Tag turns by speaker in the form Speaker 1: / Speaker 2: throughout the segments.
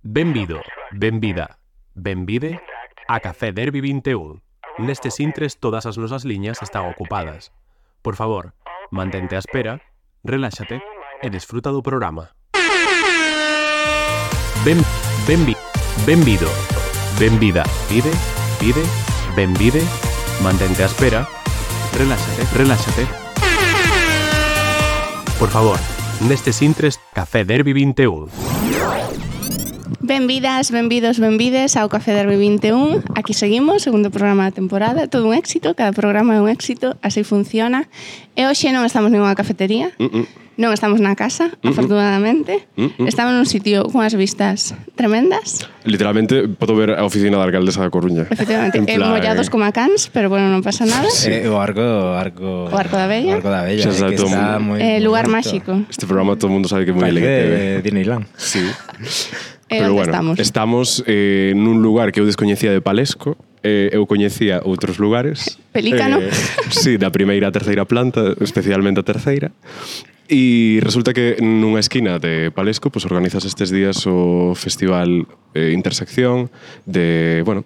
Speaker 1: Benvido, benvida, benvide a Café Derby 21. Nestes intres todas as nosas liñas están ocupadas. Por favor, mantente á espera, reláxate e desfruta do programa. Ben, benvi, benvido, benvida, pide, pide, benvide, mantente á espera, reláxate, reláxate. Por favor, nestes intres Café Derby 21.
Speaker 2: Benvidas, benvidos, benvides ao Café Derby 21 Aquí seguimos, segundo programa da temporada Todo un éxito, cada programa é un éxito Así funciona E hoxe non estamos nunha cafetería Non estamos na casa,
Speaker 3: Mm-hmm.
Speaker 2: afortunadamente Estamos nun sitio cunhas vistas tremendas
Speaker 3: Literalmente podo ver a oficina da alcaldesa da Coruña.
Speaker 2: Efectivamente,
Speaker 3: En
Speaker 2: eh,
Speaker 3: plan,
Speaker 2: mollados como a cans Pero bueno, non pasa nada
Speaker 4: Eh, o arco, o arco,
Speaker 2: O Arco da Vella.
Speaker 4: o Arco da Vella,
Speaker 3: Xa
Speaker 4: eh,
Speaker 3: sabe
Speaker 4: que
Speaker 3: todo
Speaker 4: está
Speaker 3: el mundo.
Speaker 4: moi
Speaker 2: eh, Lugar
Speaker 4: bonito.
Speaker 2: máxico
Speaker 3: Este programa todo el mundo sabe que é moi LGTB.
Speaker 4: Parece Disneyland.
Speaker 3: Sí.
Speaker 2: Eh,
Speaker 3: Pero
Speaker 2: onde
Speaker 3: bueno,
Speaker 2: estamos?
Speaker 3: estamos eh, nun lugar que eu descoñecía de Palesco, eh, eu coñecía outros lugares.
Speaker 2: Pelícano.
Speaker 3: Eh, sí, da primeira a terceira planta, especialmente a terceira. E resulta que nunha esquina de Palesco pues, organizas estes días o festival eh, Intersección de, bueno,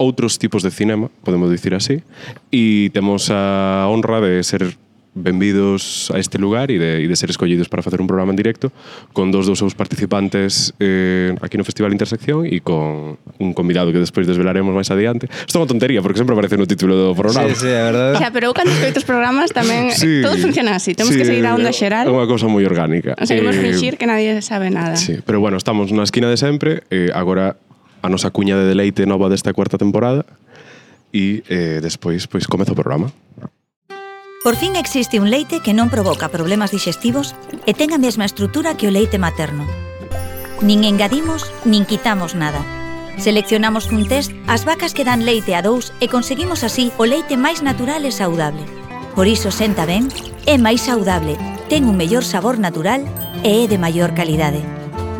Speaker 3: outros tipos de cinema, podemos dicir así, e temos a honra de ser benvidos a este lugar e de, e de ser escollidos para facer un programa en directo con dos dos seus participantes eh, aquí no Festival Intersección e con un convidado que despois desvelaremos máis adiante. Isto é unha tontería, porque sempre aparece no título do programa.
Speaker 4: Sí, sí, a verdade.
Speaker 2: O sea, pero eu cando escoito os programas tamén eh,
Speaker 3: Sí.
Speaker 2: Todo funciona así, temos
Speaker 3: Sí,
Speaker 2: que seguir a onda
Speaker 3: É
Speaker 2: xeral
Speaker 3: unha cousa moi orgánica.
Speaker 2: O sea, imos
Speaker 3: Eh,
Speaker 2: fingir que nadie sabe nada
Speaker 3: Sí, pero bueno, estamos na esquina de sempre, eh, agora a nosa cuña de deleite nova desta cuarta temporada e eh, despois pois comeza o programa.
Speaker 5: Por fin existe un leite que non provoca problemas digestivos e ten a mesma estrutura que o leite materno. Nin engadimos, nin quitamos nada. Seleccionamos un test as vacas que dan leite a dous e conseguimos así o leite máis natural e saudable. Por iso senta ben, é máis saudable, ten un mellor sabor natural e é de maior calidade.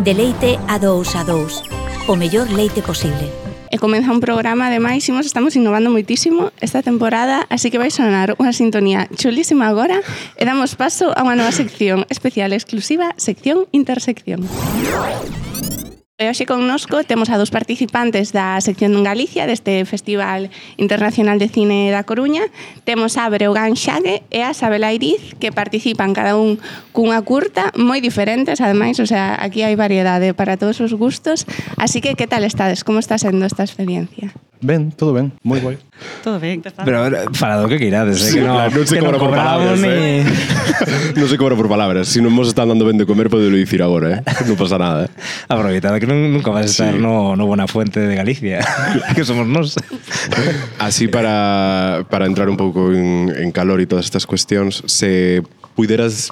Speaker 5: De leite a dous a dous, o mellor leite posible.
Speaker 2: E comeza un programa, ademais, imos estamos innovando moitísimo esta temporada, así que vai sonar unha sintonía chulísima agora e damos paso a unha nova sección especial exclusiva, sección intersección. E hoxe connosco temos a dos participantes da sección Galicia deste Festival Internacional de Cine da Coruña. Temos a Breogán Xague e a Sabela Iriz que participan cada un cunha curta moi diferentes, ademais, o sea, aquí hai variedade para todos os gustos. Así que, que tal estades? Como está sendo esta experiencia?
Speaker 6: Ben, todo ben, moi guai.
Speaker 7: Todo ben, perfecto.
Speaker 4: Pero eh, falado que queirades,
Speaker 3: Sí,
Speaker 4: eh, que no,
Speaker 3: claro, non se
Speaker 4: que non
Speaker 3: cobra por
Speaker 4: cobramos
Speaker 3: palabras,
Speaker 4: ni...
Speaker 3: eh. non se cobra por palabras, se non mos están dando ben de comer, podelo dicir agora, eh? non pasa nada.
Speaker 4: Aproveitado que nun, nunca vas a estar
Speaker 3: Sí.
Speaker 4: no, no Buena Fuente de Galicia, que somos nós.
Speaker 3: Así para, para entrar un pouco en, en calor e todas estas cuestións, se puideras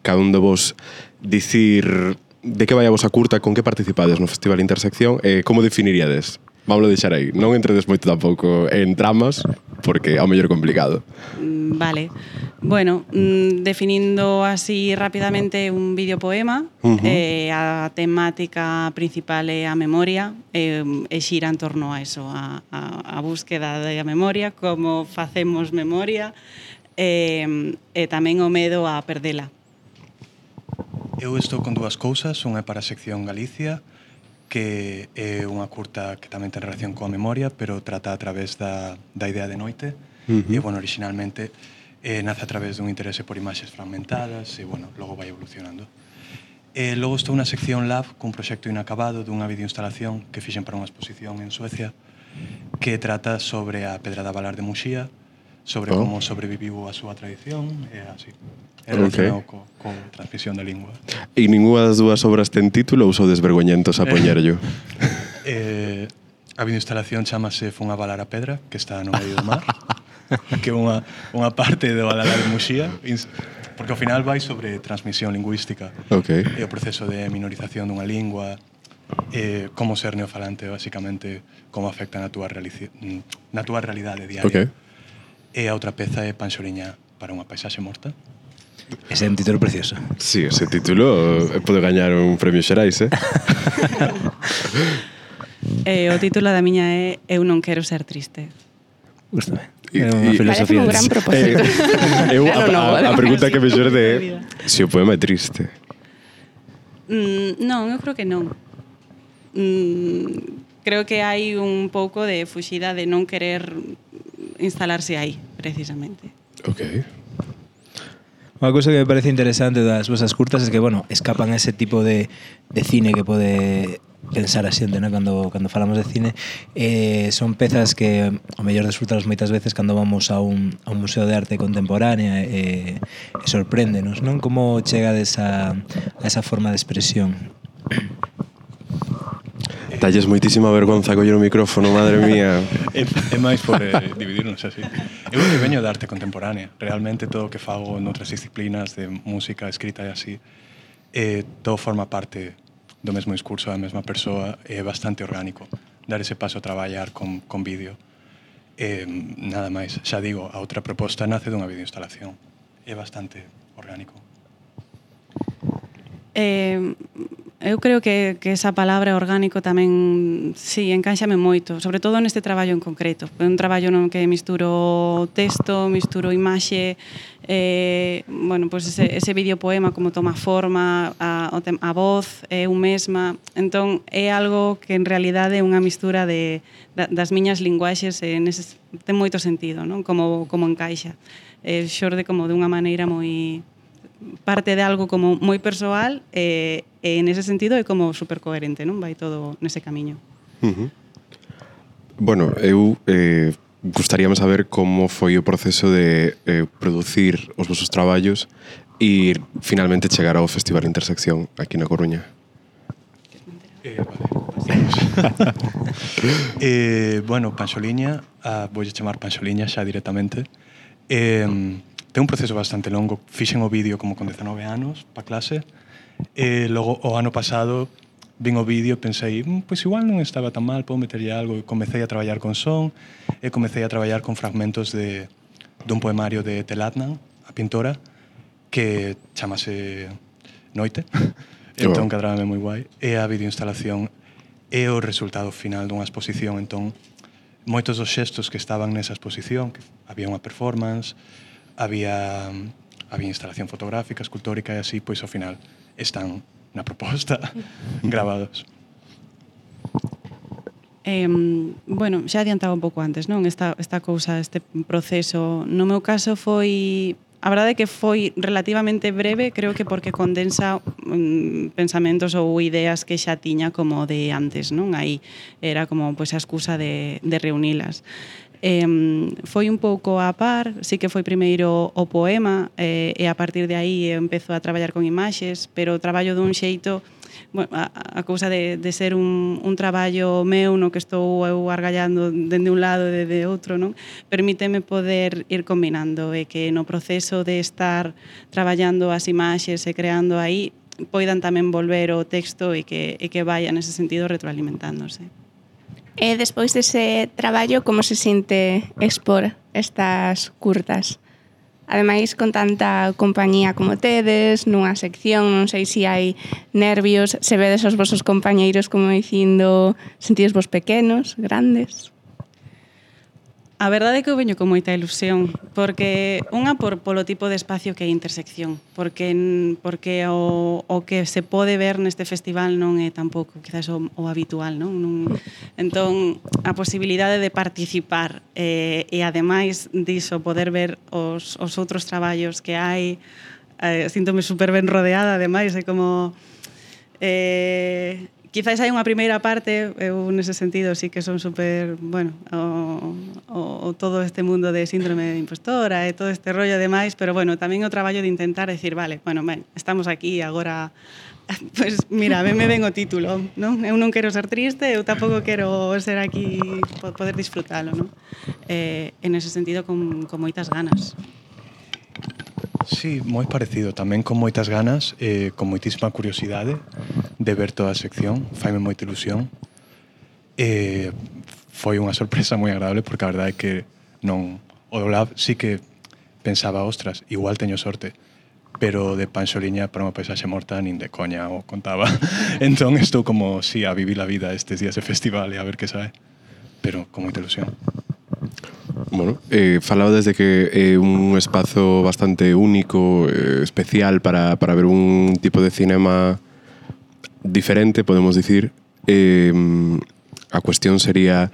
Speaker 3: cada un de vos dicir de que vai a vosa curta, con que participades no Festival Intersección, eh, como definiríades? Vamos a deixar aí. Non entredes moito tampouco en tramas, porque é o mellor complicado.
Speaker 7: Mm, Vale. Bueno, mm, definindo así rapidamente un videopoema,
Speaker 3: Ujú.
Speaker 7: eh, a temática principal é a memoria, eh, e xira en torno a eso, a, a, a búsqueda da memoria, como facemos memoria, eh, e tamén o medo a perdela.
Speaker 8: Eu estou con dúas cousas, unha é para a sección Galicia, que é unha curta que tamén ten relación coa memoria, pero trata a través da, da idea de noite,
Speaker 3: Ujú.
Speaker 8: e, bueno, originalmente eh, nace a través dun interese por imaxes fragmentadas, e, bueno, logo vai evolucionando. E logo estou na sección Lab cun proxecto inacabado dunha videoinstalación que fixen para unha exposición en Suecia que trata sobre a Pedra da Valar de Muxía, sobre
Speaker 3: Oh.
Speaker 8: oh. como sobreviviu a súa tradición e así. E
Speaker 3: Ok.
Speaker 8: relacionado co, co transmisión da lingua.
Speaker 3: E ningunha das dúas obras ten título ou sou desvergoñentos a
Speaker 8: Eh.
Speaker 3: poñerllo?
Speaker 8: Eh, a videoinstalación chamase Fun a Valar a Pedra, que está no medio do mar, que é unha, unha parte do Valar de Muxía, ins- porque ao final vai sobre transmisión lingüística.
Speaker 3: Ok.
Speaker 8: E o proceso de minorización dunha lingua, eh, como ser neofalante, basicamente, como afecta na túa, realici- mm, na túa realidade diaria.
Speaker 3: Ok.
Speaker 8: E a outra peza é Panxoriña para unha paisaxe morta.
Speaker 4: Ese é un título precioso.
Speaker 3: Sí, ese título eh, pode gañar un premio Xerais, eh?
Speaker 7: Eh, o título da miña é Eu non quero ser triste.
Speaker 4: Gústame.
Speaker 3: E-
Speaker 4: É unha
Speaker 3: e-
Speaker 2: Parece
Speaker 4: filosofía.
Speaker 2: un gran
Speaker 4: de-
Speaker 2: propósito.
Speaker 3: Eh, eu, a,
Speaker 2: Claro, no,
Speaker 3: a, a
Speaker 2: además.
Speaker 3: pregunta que me xorde é se o poema é triste.
Speaker 7: Mm, non, eu creo que non. mm, creo que hai un pouco de fuxida de non querer instalarse aí, precisamente.
Speaker 3: Ok.
Speaker 4: Unha cousa que me parece interesante das vosas curtas é que, bueno, escapan a ese tipo de, de cine que pode pensar a xente, né? cando, cando falamos de cine eh, son pezas que o mellor desfrutalas moitas veces cando vamos a un, a un museo de arte contemporánea e eh, e sorpréndenos non como chegades a, a esa forma de expresión
Speaker 3: Talles moitísima vergonza coller o micrófono, madre mía.
Speaker 8: É, é máis por eh, dividirnos así. Eu que veño da arte contemporánea. Realmente todo o que fago noutras disciplinas de música, escrita e así, eh, todo forma parte do mesmo discurso da mesma persoa e é bastante orgánico. Dar ese paso a traballar con, con vídeo. Eh, nada máis. Xa digo, a outra proposta nace dunha videoinstalación. É bastante orgánico.
Speaker 7: Eh, eu creo que, que esa palabra orgánico tamén sí, encaixame moito, sobre todo neste traballo en concreto. É un traballo non que misturo texto, misturo imaxe, eh, bueno, pois ese, ese videopoema como toma forma, a, o tem- a voz, é eu mesma. Entón, é algo que en realidade é unha mistura de, da, das miñas linguaxes e nese, ten moito sentido, non? Como, como encaixa. Eh, xorde como dunha maneira moi parte de algo como moi persoal e, e en ese sentido é como super coherente, non? Vai todo nese camiño.
Speaker 3: Uhum. Bueno, eu eh, gustaríame saber como foi o proceso de eh, producir os vosos traballos e finalmente chegar ao Festival Intersección aquí na Coruña.
Speaker 8: Eh, vale. eh, bueno, Panxoliña, ah, voulle chamar Panxoliña xa directamente. Eh, ten un proceso bastante longo. Fixen o vídeo como con 19 anos pa clase. Eh, logo, o ano pasado, vin o vídeo e pensei, "Mm, pois igual non estaba tan mal, podo meterlle algo. E comecei a traballar con son, e comecei a traballar con fragmentos de, dun poemario de Telatnan, a pintora, que chamase Noite. entón,
Speaker 3: Oh.
Speaker 8: cadrábame moi guai. E a videoinstalación é o resultado final dunha exposición, entón, moitos dos xestos que estaban nesa exposición, que había unha performance, había había instalación fotográfica, escultórica e así, pois ao final están na proposta grabados.
Speaker 7: Eh, bueno, xa adiantaba un pouco antes, non? Esta, esta cousa, este proceso. No meu caso foi... A verdade é que foi relativamente breve, creo que porque condensa mm, pensamentos ou ideas que xa tiña como de antes, non? Aí era como pois, a excusa de, de reunilas. Eh, foi un pouco a par, sí que foi primeiro o poema eh, e a partir de aí empezo a traballar con imaxes, pero traballo dun xeito bueno, a, a cousa de, de ser un, un traballo meu no que estou eu argallando dende un lado e dende outro, non? Permíteme poder ir combinando e que no proceso de estar traballando as imaxes e creando aí poidan tamén volver o texto e que, e que vaya nese sentido retroalimentándose.
Speaker 2: E Eh, despois dese traballo, como se sinte expor estas curtas? Ademais, con tanta compañía como tedes, nunha sección, non sei se hai nervios, se vedes os vosos compañeiros como dicindo sentidos vos pequenos, grandes...
Speaker 7: A verdade é que eu veño con moita ilusión, porque unha por polo tipo de espacio que é intersección, porque n- porque o, o que se pode ver neste festival non é tampouco quizás o, o habitual, non? non entón a posibilidade de participar eh, e ademais diso poder ver os, os outros traballos que hai, eh, síntome super ben rodeada ademais, é como Eh, quizáis hai unha primeira parte, eu nese sentido sí que son super, bueno, o, o, o todo este mundo de síndrome de impostora e todo este rollo e demais, pero bueno, tamén o traballo de intentar decir, vale, bueno, ben, estamos aquí agora Pois pues mira, a mí me ven o título, non? Eu non quero ser triste, eu tampouco quero ser aquí po- poder disfrutalo, non? Eh, en ese sentido con, con moitas ganas.
Speaker 8: Sí, moi parecido, tamén con moitas ganas, eh, con moitísima curiosidade de ver toda a sección, faime moita ilusión. Eh, foi unha sorpresa moi agradable porque a verdade é que non o do Lab sí que pensaba, ostras, igual teño sorte, pero de Panxoliña para unha paisaxe morta nin de coña o contaba. entón estou como, sí, a vivir a vida estes días de festival e a ver que sae, pero con moita ilusión.
Speaker 3: Bueno, eh, falaba desde que é eh, un espazo bastante único, eh, especial para, para ver un tipo de cinema diferente, podemos dicir, eh, a cuestión sería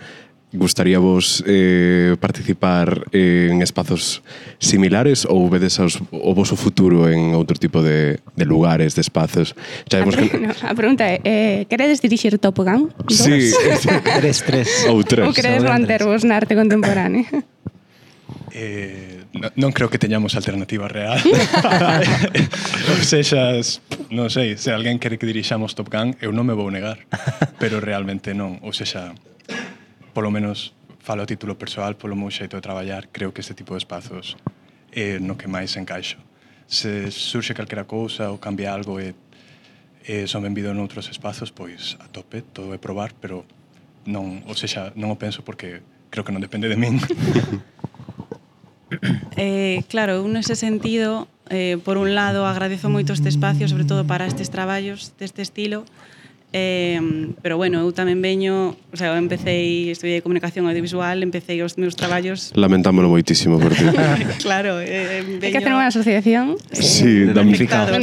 Speaker 3: gustaría vos eh, participar en espazos similares ou vedes os, o voso futuro en outro tipo de, de lugares, de espazos? Xa
Speaker 2: A,
Speaker 3: vemos
Speaker 2: pre-
Speaker 3: que...
Speaker 2: no, a pregunta é, eh, queredes dirixir Top Gun? dos?
Speaker 3: Sí,
Speaker 4: Tres, tres.
Speaker 2: Ou
Speaker 3: ou tres.
Speaker 2: queredes
Speaker 4: Sobre
Speaker 2: mantervos na arte contemporánea?
Speaker 8: Eh, no- non creo que teñamos alternativa real. Ou sexas, non sei, se alguén quere que dirixamos Top Gun, eu non me vou negar, pero realmente non. Ou sexa, polo menos falo a título persoal, polo meu xeito de traballar, creo que este tipo de espazos é no que máis encaixo. Se surxe calquera cousa ou cambia algo e, e son benvido noutros espazos, pois a tope, todo é probar, pero non, ou sexa, non o penso porque creo que non depende de min.
Speaker 7: Eh, claro, eu nese sentido, eh, por un lado, agradezo moito este espacio, sobre todo para estes traballos deste estilo, eh, pero bueno, eu tamén veño, o sea, eu empecé, estudiei comunicación audiovisual, empecé os meus traballos,
Speaker 3: Lamentámolo moitísimo por ti.
Speaker 7: claro, eh,
Speaker 2: Hai que hacer unha asociación.
Speaker 3: Sí, damnificados,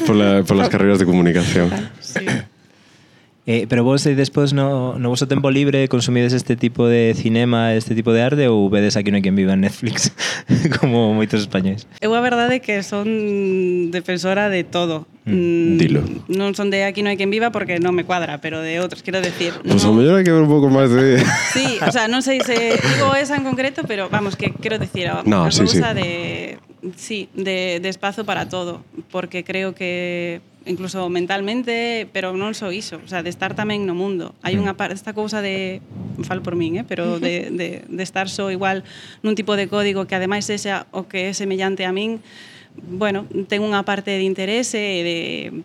Speaker 3: damnificados por, la, por las carreras de comunicación.
Speaker 7: Sí.
Speaker 4: Eh, pero vos eh, despois no, no voso tempo libre consumides este tipo de cinema, este tipo de arte ou vedes aquí non hai quen viva en Netflix como moitos españois?
Speaker 7: Eu a verdade é que son defensora de todo. Mm,
Speaker 3: dilo.
Speaker 7: Non son de aquí no hai quen viva porque non me cuadra, pero de outros, quero decir.
Speaker 3: Pues a lo
Speaker 7: non-
Speaker 3: mellor hai que ver un pouco máis de...
Speaker 7: Sí, o sea, non sei se digo esa en concreto, pero vamos, que quero decir, a
Speaker 3: No,
Speaker 7: a
Speaker 3: sí,
Speaker 7: cousa
Speaker 3: sí.
Speaker 7: de sí, de, de espazo para todo, porque creo que incluso mentalmente, pero non só iso, o sea, de estar tamén no mundo. Hai
Speaker 3: Mm.
Speaker 7: unha parte esta cousa de falo por min, eh, pero de, de, de estar só igual nun tipo de código que ademais ese o que é semellante a min, bueno, ten unha parte de interese e de,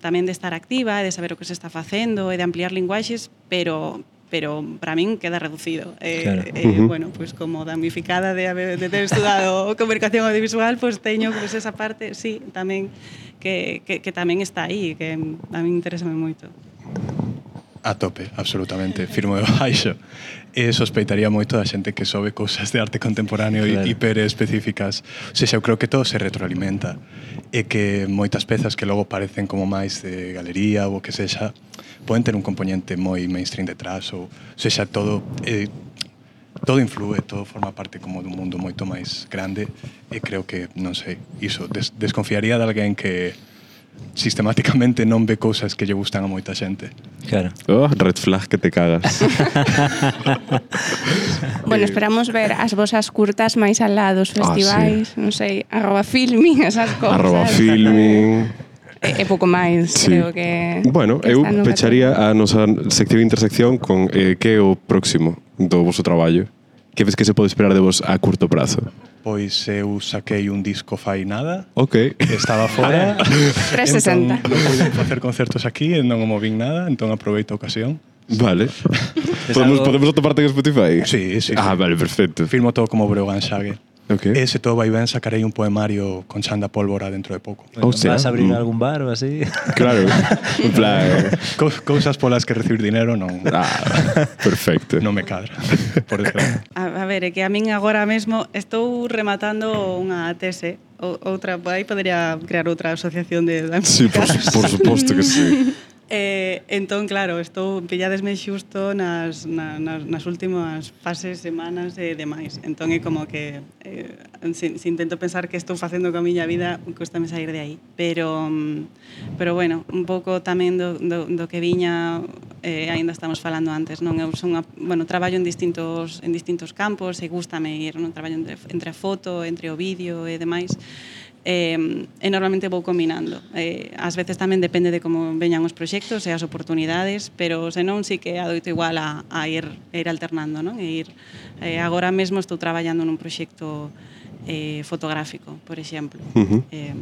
Speaker 7: tamén de estar activa, e de saber o que se está facendo e de ampliar linguaxes, pero pero para min queda reducido. Eh,
Speaker 4: Claro.
Speaker 7: eh, bueno, pues como damnificada de haber de ter estudado comunicación audiovisual, pues teño pues esa parte, sí, tamén que, que, que tamén está aí, que a min interésame moito.
Speaker 8: A tope, absolutamente, firmo de baixo. E sospeitaría moito da xente que sobe cousas de arte contemporáneo
Speaker 4: Claro.
Speaker 8: claro. hiper específicas. Se xa eu creo que todo se retroalimenta e que moitas pezas que logo parecen como máis de galería ou o que sexa poden ter un componente moi mainstream detrás ou sexa todo eh, todo influe, todo forma parte como dun mundo moito máis grande e creo que, non sei, iso, des, desconfiaría de alguén que sistemáticamente non ve cousas que lle gustan a moita xente.
Speaker 4: Claro.
Speaker 3: Oh, red flag que te cagas.
Speaker 2: Bueno, esperamos ver as vosas curtas máis alá dos
Speaker 3: Ah,
Speaker 2: festivais, non sei, arroba filming, esas cousas.
Speaker 3: Arroba filming.
Speaker 2: E, e pouco máis,
Speaker 3: Sí.
Speaker 2: creo que...
Speaker 3: Bueno,
Speaker 2: que
Speaker 3: eu
Speaker 2: están no
Speaker 3: pecharía a nosa sección intersección con eh, que é o próximo do voso traballo. Que ves que se pode esperar de vos a curto prazo?
Speaker 8: Pois eu saquei un disco fai nada,
Speaker 3: Ok.
Speaker 8: que estaba fora.
Speaker 2: 360.
Speaker 8: Entón, non pude facer concertos aquí, e non o movín nada, entón aproveito a ocasión.
Speaker 3: Vale.
Speaker 4: Tes
Speaker 3: podemos,
Speaker 4: algo-
Speaker 3: podemos atoparte en Spotify?
Speaker 8: Sí, sí,
Speaker 3: Ah,
Speaker 8: sí.
Speaker 3: vale, perfecto.
Speaker 8: Firmo todo como Breogán Xague.
Speaker 3: Ok.
Speaker 8: E se todo vai ben, sacarei un poemario con Xanda Pólvora dentro de pouco.
Speaker 3: Hostia.
Speaker 4: Vas a abrir
Speaker 3: Mm.
Speaker 4: algún bar ou así?
Speaker 3: Claro. En plan...
Speaker 8: Co cousas polas que recibir dinero non,
Speaker 3: Eh. Ah, perfecto.
Speaker 8: non me cadra, por desgracia.
Speaker 7: A, a ver, é que a min agora mesmo estou rematando unha tese, ou, outra, aí podería crear outra asociación de
Speaker 3: Sí, por,
Speaker 7: damnificados.
Speaker 3: por suposto que sí.
Speaker 7: Eh, entón, claro, estou pilladesme xusto nas, na, nas, nas últimas fases, semanas e demais. Entón é como que eh, se, se intento pensar que estou facendo coa miña vida, costame sair de aí. Pero, mm, pero bueno, un pouco tamén do, do, do que viña eh, aínda estamos falando antes, non? Eu son a, bueno, traballo en distintos, en distintos campos e gustame ir, non? Traballo entre, entre a foto, entre o vídeo e demais eh, e normalmente vou combinando. Eh, ás veces tamén depende de como veñan os proxectos e as oportunidades, pero senón sí que adoito igual a, a ir, a ir alternando, non? E ir, eh, agora mesmo estou traballando nun proxecto eh, fotográfico, por exemplo.
Speaker 3: Ujú.
Speaker 7: Eh,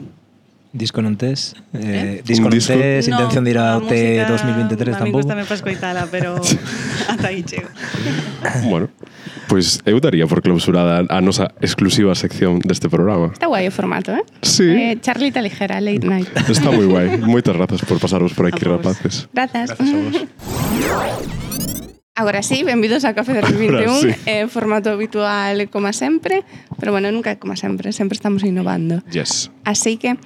Speaker 4: Disco non tes? Eh,
Speaker 7: Eh?
Speaker 4: Disco
Speaker 3: Un
Speaker 4: non
Speaker 3: disco.
Speaker 4: tes? intención de ir
Speaker 7: a
Speaker 4: ao T
Speaker 7: música,
Speaker 4: 2023
Speaker 7: A mí
Speaker 4: tampouco?
Speaker 7: gustame pa escoitala, pero ata aí chego.
Speaker 3: Bueno, pois pues eu daría por clausurada a nosa exclusiva sección deste programa.
Speaker 2: Está guai o formato, eh?
Speaker 3: Sí.
Speaker 2: Eh, charlita ligera, late night.
Speaker 3: Está moi guai. Moitas grazas por pasaros por aquí,
Speaker 7: A vos.
Speaker 3: rapaces.
Speaker 2: Grazas.
Speaker 8: Gracias a vos.
Speaker 2: Agora sí, benvidos a Café del
Speaker 3: Ahora
Speaker 2: 21,
Speaker 3: sí.
Speaker 2: eh, formato habitual como sempre, pero bueno, nunca como sempre, sempre estamos innovando.
Speaker 3: Yes.
Speaker 2: Así que,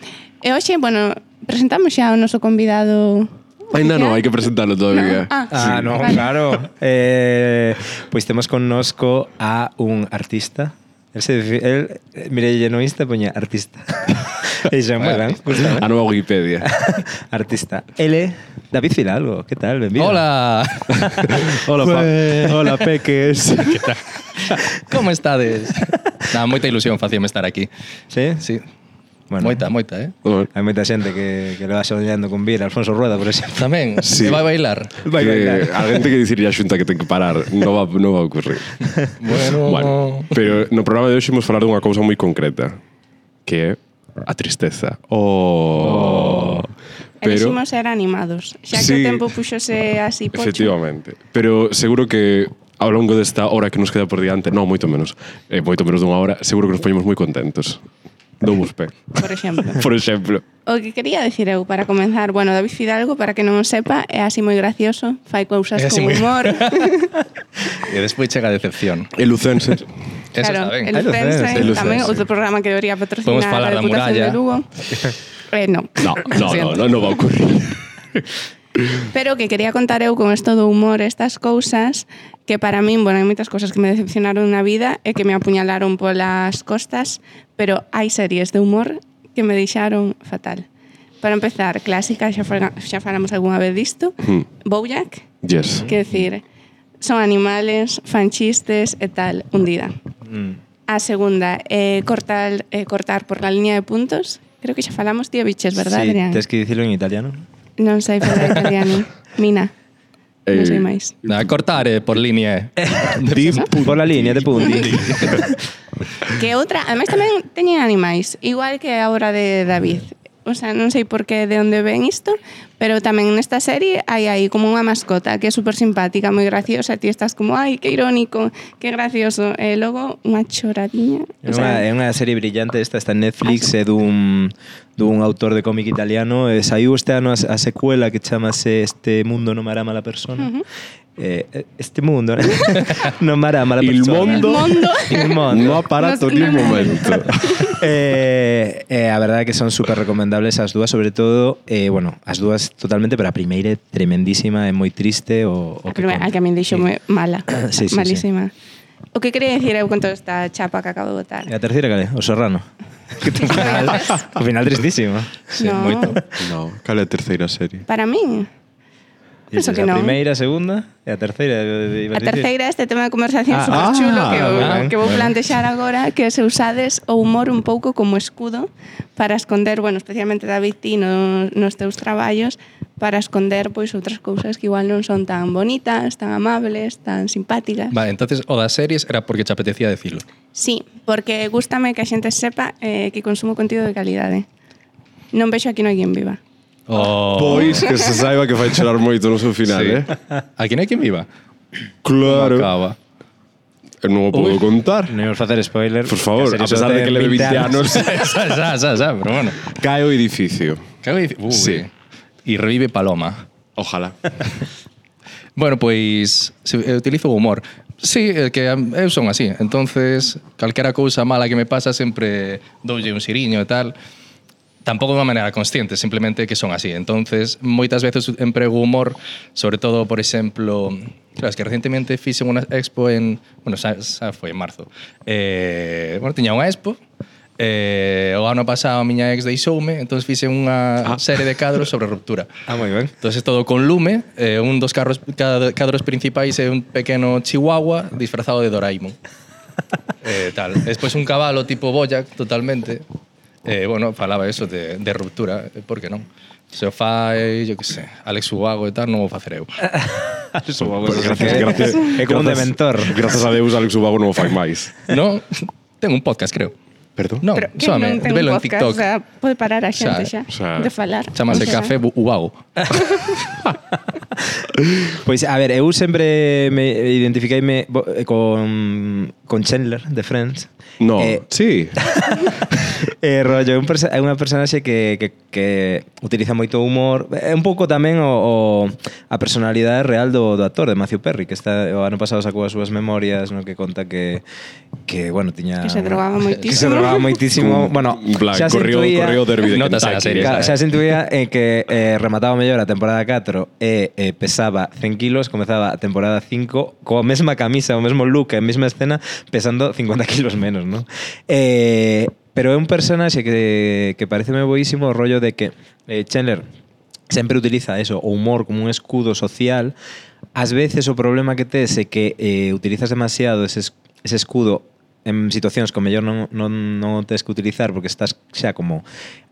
Speaker 2: e hoxe, bueno, presentamos xa o noso convidado
Speaker 3: Ainda non,
Speaker 2: oficial?
Speaker 3: hai que presentalo todavía.
Speaker 2: Ah,
Speaker 4: Ah,
Speaker 2: sí.
Speaker 4: no,
Speaker 2: Vale.
Speaker 4: claro. Eh, pois temos connosco a un artista. El se defi- el, eh, Mireille no Insta poña artista. e xa moi ben,
Speaker 3: A
Speaker 4: gustame.
Speaker 3: nova Wikipedia.
Speaker 4: Artista. L, David Fidalgo, que tal? Benvido.
Speaker 6: Hola. hola, pa.
Speaker 4: hola, peques.
Speaker 6: Como estades? Nada, moita ilusión facíame estar aquí.
Speaker 4: sí?
Speaker 6: Sí.
Speaker 4: Bueno.
Speaker 6: Moita, moita, eh?
Speaker 3: Bueno,
Speaker 4: Hai moita xente que, que le va soñando con vir. Alfonso Rueda, por exemplo.
Speaker 6: Tamén,
Speaker 3: Sí.
Speaker 6: sí. vai bailar.
Speaker 4: Vai
Speaker 3: que
Speaker 4: bailar.
Speaker 3: a gente que dicirlle a xunta que ten que parar non va, non va a ocurrir.
Speaker 6: Bueno,
Speaker 3: Bueno, pero no programa de hoxe imos falar dunha cousa moi concreta, que é a tristeza. Oh.
Speaker 2: Pero...
Speaker 3: Pero,
Speaker 2: Eliximos ser animados. Xa que
Speaker 3: Sí.
Speaker 2: o tempo puxose así pocho.
Speaker 3: efectivamente. Pero seguro que ao longo desta hora que nos queda por diante, non, moito menos, eh, moito menos dunha hora, seguro que nos poñemos moi contentos. Doumos pé,
Speaker 2: Por exemplo.
Speaker 3: por exemplo.
Speaker 2: O que quería decir eu para comenzar, bueno, David Fidalgo, para que non o sepa, é así moi gracioso, fai cousas
Speaker 6: É así
Speaker 2: con
Speaker 6: moi-
Speaker 2: humor.
Speaker 6: e despois chega a decepción.
Speaker 3: E Lucense,
Speaker 6: Eso está ben.
Speaker 2: el
Speaker 4: Hai lucense,
Speaker 2: Fense,
Speaker 3: hai lucense.
Speaker 2: tamén outro programa que debería patrocinar
Speaker 6: Podemos falar
Speaker 2: a
Speaker 6: da
Speaker 2: Deputación
Speaker 6: muralla.
Speaker 2: de Lugo. Eh, non.
Speaker 3: No,
Speaker 2: Lo
Speaker 3: no, no,
Speaker 2: siento.
Speaker 3: no, no va a ocurrir.
Speaker 2: Pero o que quería contar eu con esto do humor, estas cousas, que para min, bueno, hai moitas cousas que me decepcionaron na vida e que me apuñalaron polas costas, pero hai series de humor que me deixaron fatal. Para empezar, clásica, xa, fala- xa falamos algunha vez disto,
Speaker 3: Hmm.
Speaker 2: Bojack,
Speaker 3: Yes.
Speaker 2: que decir, son animales, fan chistes e tal, hundida.
Speaker 4: Mm.
Speaker 2: A segunda, eh, cortar, eh, cortar por la línea de puntos, creo que xa falamos, tío biches, verdad,
Speaker 4: sí,
Speaker 2: Adrián?
Speaker 4: Tens que dicilo en italiano.
Speaker 2: Non sei falar italiano. Mina, non
Speaker 4: Eh,
Speaker 3: Eh,
Speaker 2: sei máis.
Speaker 6: Na cortar eh, por línea. eh.
Speaker 4: Por la línea de punti.
Speaker 2: Que outra, ademais tamén teñen animais, igual que a obra de David. O sea, non sei por que de onde ven isto, pero tamén nesta serie hai aí como unha mascota que é super simpática, moi graciosa, ti estás como, ai, que irónico, que gracioso. E logo unha choradiña.
Speaker 4: É unha, é unha serie brillante esta, está en Netflix, é dun, dun autor de cómic italiano. E saiu este ano a, a secuela que chamase Este mundo non mará mala persona. Uh -huh. eh, eh, este mundo non mará mala
Speaker 3: Il
Speaker 4: persona.
Speaker 3: mondo.
Speaker 2: El mondo.
Speaker 4: Il mondo.
Speaker 3: No ha parado
Speaker 2: Nos-
Speaker 3: ni un
Speaker 2: no, no, no.
Speaker 3: momento.
Speaker 4: eh, eh, a verdade é que son super recomendables as dúas, sobre todo, eh, bueno, as dúas totalmente, pero a primeira é tremendísima, é moi triste o,
Speaker 2: A
Speaker 4: o
Speaker 2: primeira, a que a min deixou
Speaker 4: Sí.
Speaker 2: moi mala,
Speaker 4: Sí, sí, sí.
Speaker 2: malísima. O que quería decir eu con toda esta chapa que acabo de botar?
Speaker 4: E a terceira, cale? O Serrano. Que ten final, o final tristísimo.
Speaker 6: Sí, moito.
Speaker 3: No, cal é a terceira serie?
Speaker 2: Para min, Penso
Speaker 4: Dices,
Speaker 2: que
Speaker 4: a
Speaker 2: non.
Speaker 4: primeira, a segunda e a terceira.
Speaker 2: A terceira este tema de conversación
Speaker 4: Ah,
Speaker 2: ah, super chulo
Speaker 4: ah,
Speaker 2: que, vou,
Speaker 4: ben,
Speaker 2: que vou
Speaker 4: ben.
Speaker 2: plantexar agora que se usades o humor un pouco como escudo para esconder, bueno, especialmente David ti no, nos teus traballos para esconder pois outras cousas que igual non son tan bonitas, tan amables, tan simpáticas.
Speaker 6: Vale, entonces o das series era porque te apetecía decirlo.
Speaker 2: Sí, porque gustame que a xente sepa eh, que consumo contido de calidade. Non vexo aquí non hai quen viva.
Speaker 6: Oh.
Speaker 3: Pois que se saiba que fai chorar moito no seu final, eh?
Speaker 6: Sí. Aquí non hai quen viva.
Speaker 3: Claro.
Speaker 6: Acaba.
Speaker 3: Eu non o podo
Speaker 6: Ui.
Speaker 3: contar.
Speaker 4: Non imos facer spoiler.
Speaker 3: Por favor,
Speaker 4: que
Speaker 3: a
Speaker 4: a serie só
Speaker 3: pesar de
Speaker 4: ten
Speaker 3: que leve 20 anos,
Speaker 6: xa, xa, xa, xa, pero bueno.
Speaker 3: cae o edificio.
Speaker 6: Cago en dic- Uy.
Speaker 3: Sí.
Speaker 6: E revive Paloma.
Speaker 3: Ojalá.
Speaker 6: Bueno, pois se, eh, utilizo o humor. Sí, é que am, eu son así. Entonces, calquera cousa mala que me pasa sempre doulle un siriño e tal. Tampouco de unha maneira consciente, simplemente que son así. Entonces, moitas veces emprego humor, sobre todo, por exemplo, claro, es que recentemente fixen unha expo en, bueno, xa, xa foi en marzo. Eh, bueno, tiña unha expo, eh, o ano pasado a miña ex deixoume, entón fixen
Speaker 3: Ah.
Speaker 6: unha serie de cadros sobre ruptura.
Speaker 4: Ah, moi ben.
Speaker 6: Entonces todo con lume, eh, un dos carros cada, cadros principais é un pequeno chihuahua disfrazado de Doraemon. eh, tal. Despois un cabalo tipo Boyac totalmente. Eh, bueno, falaba eso de, de ruptura, eh, por que non? Se o fai, yo que sé, Alex Ubago e tal, non vou facer eu.
Speaker 3: Gracias, gracias.
Speaker 4: É como un
Speaker 3: Grazas-
Speaker 4: dementor.
Speaker 3: Grazas a Deus, Alex Ubago non o fai máis.
Speaker 6: Non, ten un podcast, creo.
Speaker 3: Perdón?
Speaker 6: Non,
Speaker 2: Pero que
Speaker 6: soame,
Speaker 2: non ten
Speaker 6: velo
Speaker 2: un
Speaker 6: en
Speaker 2: podcast,
Speaker 6: TikTok.
Speaker 2: o sea, pode parar a xente
Speaker 6: Xa,
Speaker 2: xa,
Speaker 3: xa.
Speaker 2: de falar. O
Speaker 6: Chamase
Speaker 2: sea,
Speaker 6: Café Bu- Ubago.
Speaker 4: Pois, a ver, eu sempre me identificaime bo- eh, con, con Chandler, de Friends.
Speaker 3: No,
Speaker 4: Eh,
Speaker 3: sí.
Speaker 4: Eh, rollo, é un perso- é unha personaxe que, que, que utiliza moito humor É un pouco tamén o, o a personalidade real do, do actor, de Matthew Perry Que está, o ano pasado sacou as súas memorias no que conta que, que bueno, tiña
Speaker 2: Que se
Speaker 4: unha-
Speaker 2: drogaba
Speaker 4: Que se
Speaker 2: moitísimo.
Speaker 4: drogaba moitísimo Bueno,
Speaker 3: en plan,
Speaker 4: xa se
Speaker 3: corrió,
Speaker 4: intuía
Speaker 3: corrió o derbi de
Speaker 6: Notas a la
Speaker 3: Kentucky.
Speaker 6: serie,
Speaker 4: Claro, xa
Speaker 6: ¿sabes?
Speaker 4: se intuía en que eh, remataba mellor a temporada 4 e eh, pesaba 100 kilos, comezaba a temporada 5 coa mesma camisa, o mesmo look, a mesma escena, pesando 50 kilos menos, non? Eh, pero é un personaxe que, que parece moi boísimo o rollo de que eh, Chandler sempre utiliza eso, o humor como un escudo social. Ás veces o problema que tes é que eh, utilizas demasiado ese, es- ese escudo en situacións que o mellor non, non, non o tes que utilizar porque estás xa como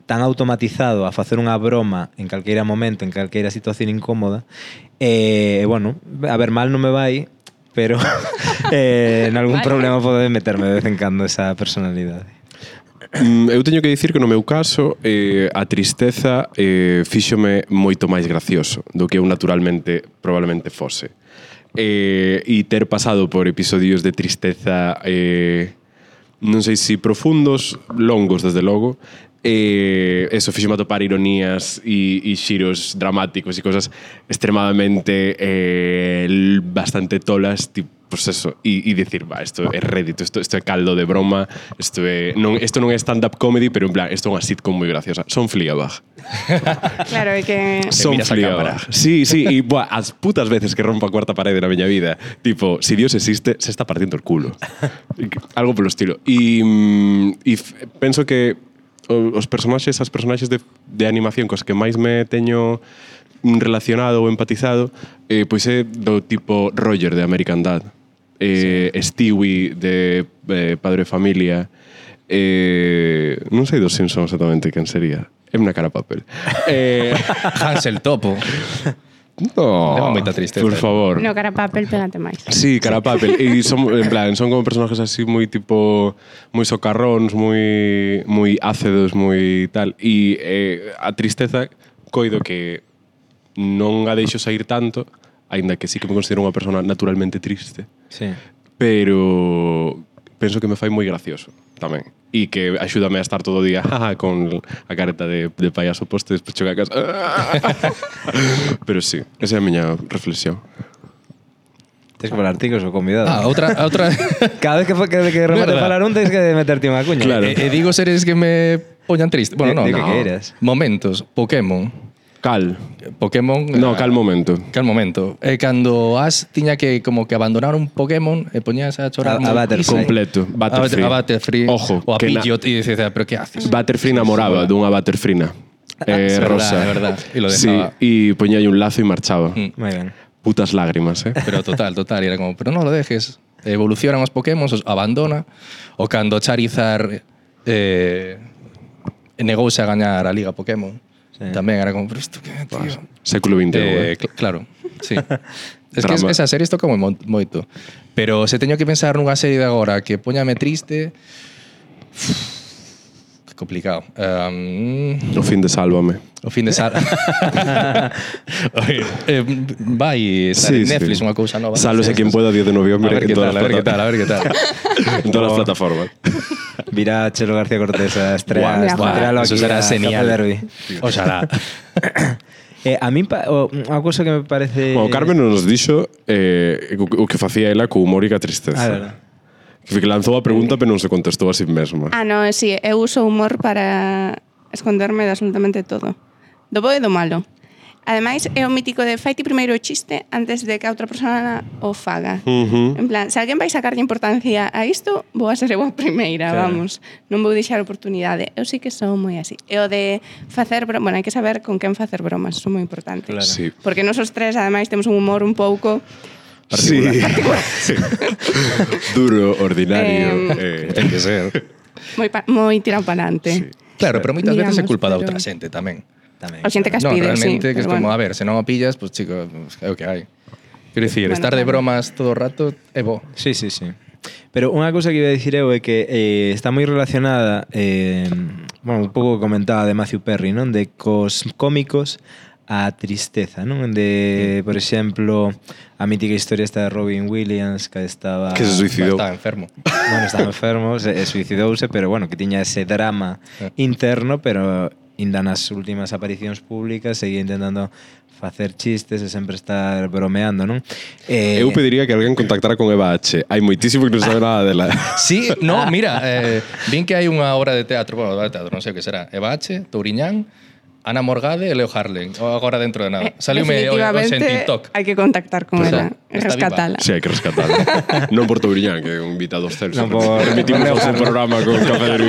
Speaker 4: tan automatizado a facer unha broma en calqueira momento, en calqueira situación incómoda, e, eh, bueno, a ver, mal non me vai, pero eh, en algún
Speaker 2: Vale.
Speaker 4: problema pode meterme de vez en cando esa personalidade.
Speaker 3: Mm, Eu teño que dicir que no meu caso eh, a tristeza eh, fíxome moito máis gracioso do que eu naturalmente probablemente fose. Eh, e ter pasado por episodios de tristeza eh, non sei se profundos, longos desde logo, eh, eso fixo atopar ironías e, e xiros dramáticos e cosas extremadamente eh, l- bastante tolas, tipo pues eso, e, e dicir, va, isto é Reddit, isto, isto é caldo de broma, isto é, non, isto non é stand-up comedy, pero en plan, isto é unha sitcom moi graciosa. Son Fleabag.
Speaker 2: Claro, é que...
Speaker 3: Son
Speaker 6: miras a cámara.
Speaker 3: Fleabag. Sí, sí, e buah, as putas veces que rompo a cuarta parede na miña vida. Tipo, si Dios existe, se está partiendo el culo. Algo polo estilo. E, mm, e f- penso que o- os personaxes, as personaxes de, de animación cos que máis me teño mm, relacionado ou empatizado, eh, pois é do tipo Roger de American Dad, eh, Stewie de eh, Padre de Familia, eh, non sei dos Simpsons exactamente quen sería, é unha cara a papel. Eh,
Speaker 6: Hansel Topo.
Speaker 3: No.
Speaker 6: Dema moita tristeza.
Speaker 3: Por favor.
Speaker 2: No, cara papel, pégate máis.
Speaker 3: Sí, carapapel. E son, en plan, son como personajes así moi tipo... Moi socarróns, moi, moi ácidos, moi tal. E eh, a tristeza coido que non a deixo sair tanto, aínda que sí que me considero unha persona naturalmente triste,
Speaker 4: Sí.
Speaker 3: pero penso que me fai moi gracioso tamén. E que axúdame a estar todo o día jaja, con a careta de, de payaso posto e despois chego a casa. pero sí, esa é a miña reflexión.
Speaker 4: Tens que falar tigres ou convidado.
Speaker 6: Ah, outra, outra.
Speaker 4: Cada vez que, fa- que, que remate
Speaker 6: Verdad.
Speaker 4: falar un, tens que meterte unha cuña.
Speaker 3: Claro.
Speaker 6: E, e Eh, digo series que me poñan triste. Bueno,
Speaker 4: Di-
Speaker 6: no,
Speaker 4: di que
Speaker 6: no.
Speaker 4: queiras.
Speaker 6: Momentos, Pokémon.
Speaker 3: Cal.
Speaker 6: Pokémon...
Speaker 3: No,
Speaker 6: eh,
Speaker 3: cal momento.
Speaker 6: Cal momento. E cando Ash tiña que como que abandonar un Pokémon e poñías a chorar
Speaker 4: A- a Butterfree.
Speaker 3: Completo. Butterfree.
Speaker 6: A, Butterfree.
Speaker 3: Ojo,
Speaker 6: O a
Speaker 3: que na-
Speaker 6: Pidgeot e dices, "Ah, pero que haces?
Speaker 3: Butterfree namoraba dunha Butterfrina. Eh,
Speaker 6: Ah, es verdad,
Speaker 3: rosa.
Speaker 6: es verdad. Y lo
Speaker 3: sí,
Speaker 6: dejaba.
Speaker 3: y poñía aí un lazo e marchaba.
Speaker 6: Mm.
Speaker 4: Moi ben.
Speaker 3: Putas lágrimas, eh.
Speaker 6: Pero total, total, era como, pero non lo dejes. Evolucionan os Pokémon, os abandona. O cando Charizard eh, negouse a gañar a Liga Pokémon.
Speaker 4: Sí.
Speaker 6: Tamén era como, pero isto que, tío.
Speaker 3: Século XX. Eh,
Speaker 6: Eh, cl- claro, sí. es que es,
Speaker 3: Drama.
Speaker 6: esa serie toca moi mon- moito. Pero se teño que pensar nunha serie de agora que poñame triste... Que complicado. Um,
Speaker 3: o fin de Sálvame.
Speaker 6: o fin de Sara. eh, vai estar en Netflix unha cousa nova.
Speaker 3: Sálvese quen pueda 10 de
Speaker 6: A
Speaker 3: noviembre
Speaker 6: ver
Speaker 3: en
Speaker 6: que
Speaker 3: todas
Speaker 6: tal, a
Speaker 3: las
Speaker 6: ver que tal, a
Speaker 3: plata-
Speaker 6: ver Eh, que tal.
Speaker 3: en todas las plataformas.
Speaker 4: Virá Chelo García Cortés a
Speaker 6: Buah,
Speaker 4: estrear,
Speaker 6: buah,
Speaker 4: estrealo
Speaker 6: eso
Speaker 4: aquí
Speaker 6: será
Speaker 4: a Café
Speaker 6: genial.
Speaker 4: Derbi.
Speaker 6: Oxalá.
Speaker 4: Eh, a mí pa, o, unha cousa que me parece
Speaker 3: Bueno, Carmen nos dixo eh, o o que facía ela co humor e ca
Speaker 4: Ah,
Speaker 3: tristeza.
Speaker 4: verdad.
Speaker 3: Que lanzou a pregunta, pero non se contestou a sí mesma.
Speaker 2: Ah, no, sí, eu uso humor para esconderme de absolutamente todo. Do bo e do malo. Ademais, é o mítico de faite primeiro o chiste antes de que a outra persona o faga.
Speaker 4: Mm-hmm.
Speaker 3: Ujú.
Speaker 2: En plan, se alguén vai sacarlle importancia a isto, vou a ser eu a primeira,
Speaker 4: Claro.
Speaker 2: claro. vamos. Non vou deixar oportunidade. Eu sí que sou moi así. E o de facer bromas, bueno, hai que saber con quen facer bromas, iso é moi importante.
Speaker 4: Claro.
Speaker 3: Sí.
Speaker 2: Porque nos os tres, ademais, temos un humor un pouco
Speaker 3: Particular. Sí. Duro, ordinario.
Speaker 2: Eh,
Speaker 3: eh,
Speaker 6: que ser.
Speaker 2: moi, pa, moi tirado para
Speaker 3: sí.
Speaker 2: adelante. Sí.
Speaker 6: Claro, pero moitas veces é
Speaker 2: Digamos,
Speaker 6: culpa da
Speaker 2: pero-
Speaker 6: outra xente tamén.
Speaker 4: Tamén.
Speaker 2: O xente que as
Speaker 6: No,
Speaker 2: pide, sí.
Speaker 6: realmente, que es
Speaker 2: pero
Speaker 6: como,
Speaker 2: bueno.
Speaker 6: a ver, se non o pillas, pues chico, é o que hai. Quero dicir,
Speaker 2: Bueno,
Speaker 6: estar de
Speaker 2: claro.
Speaker 6: bromas todo o rato é bo.
Speaker 4: Sí, sí, sí. Pero unha cousa que iba a dicir eu é que eh, está moi relacionada eh, bueno, un pouco comentaba de Matthew Perry, non? De cos cómicos a tristeza, non? De, por exemplo, a mítica historia esta de Robin Williams que estaba
Speaker 3: Que se suicidou.
Speaker 6: Estaba enfermo.
Speaker 4: bueno, estaba enfermo, se, e suicidouse, pero bueno, que tiña ese drama
Speaker 6: Eh.
Speaker 4: interno, pero inda nas últimas aparicións públicas seguía intentando facer chistes e sempre estar bromeando, non? Eh,
Speaker 3: Eu pediría que alguén contactara con Eva H. Hai moitísimo que non sabe nada dela.
Speaker 6: Sí, no,
Speaker 2: Ah.
Speaker 6: mira, eh, vin que hai unha obra de teatro, bueno, obra de teatro, non sei o que será, Evache, Touriñán, Ana Morgade e Leo Harlen, o agora dentro de nada. Saliume hoxe en
Speaker 2: Eh, Definitivamente,
Speaker 6: TikTok.
Speaker 2: Hai que contactar con
Speaker 6: Pois
Speaker 2: ela,
Speaker 6: é, está
Speaker 2: rescatala.
Speaker 3: Sí, hai que rescatarlo. non por Touriñán, que é un invitado excelso.
Speaker 4: Non por-
Speaker 3: Permitimos
Speaker 4: por
Speaker 3: facer un programa
Speaker 4: Leopardo.
Speaker 3: con Café del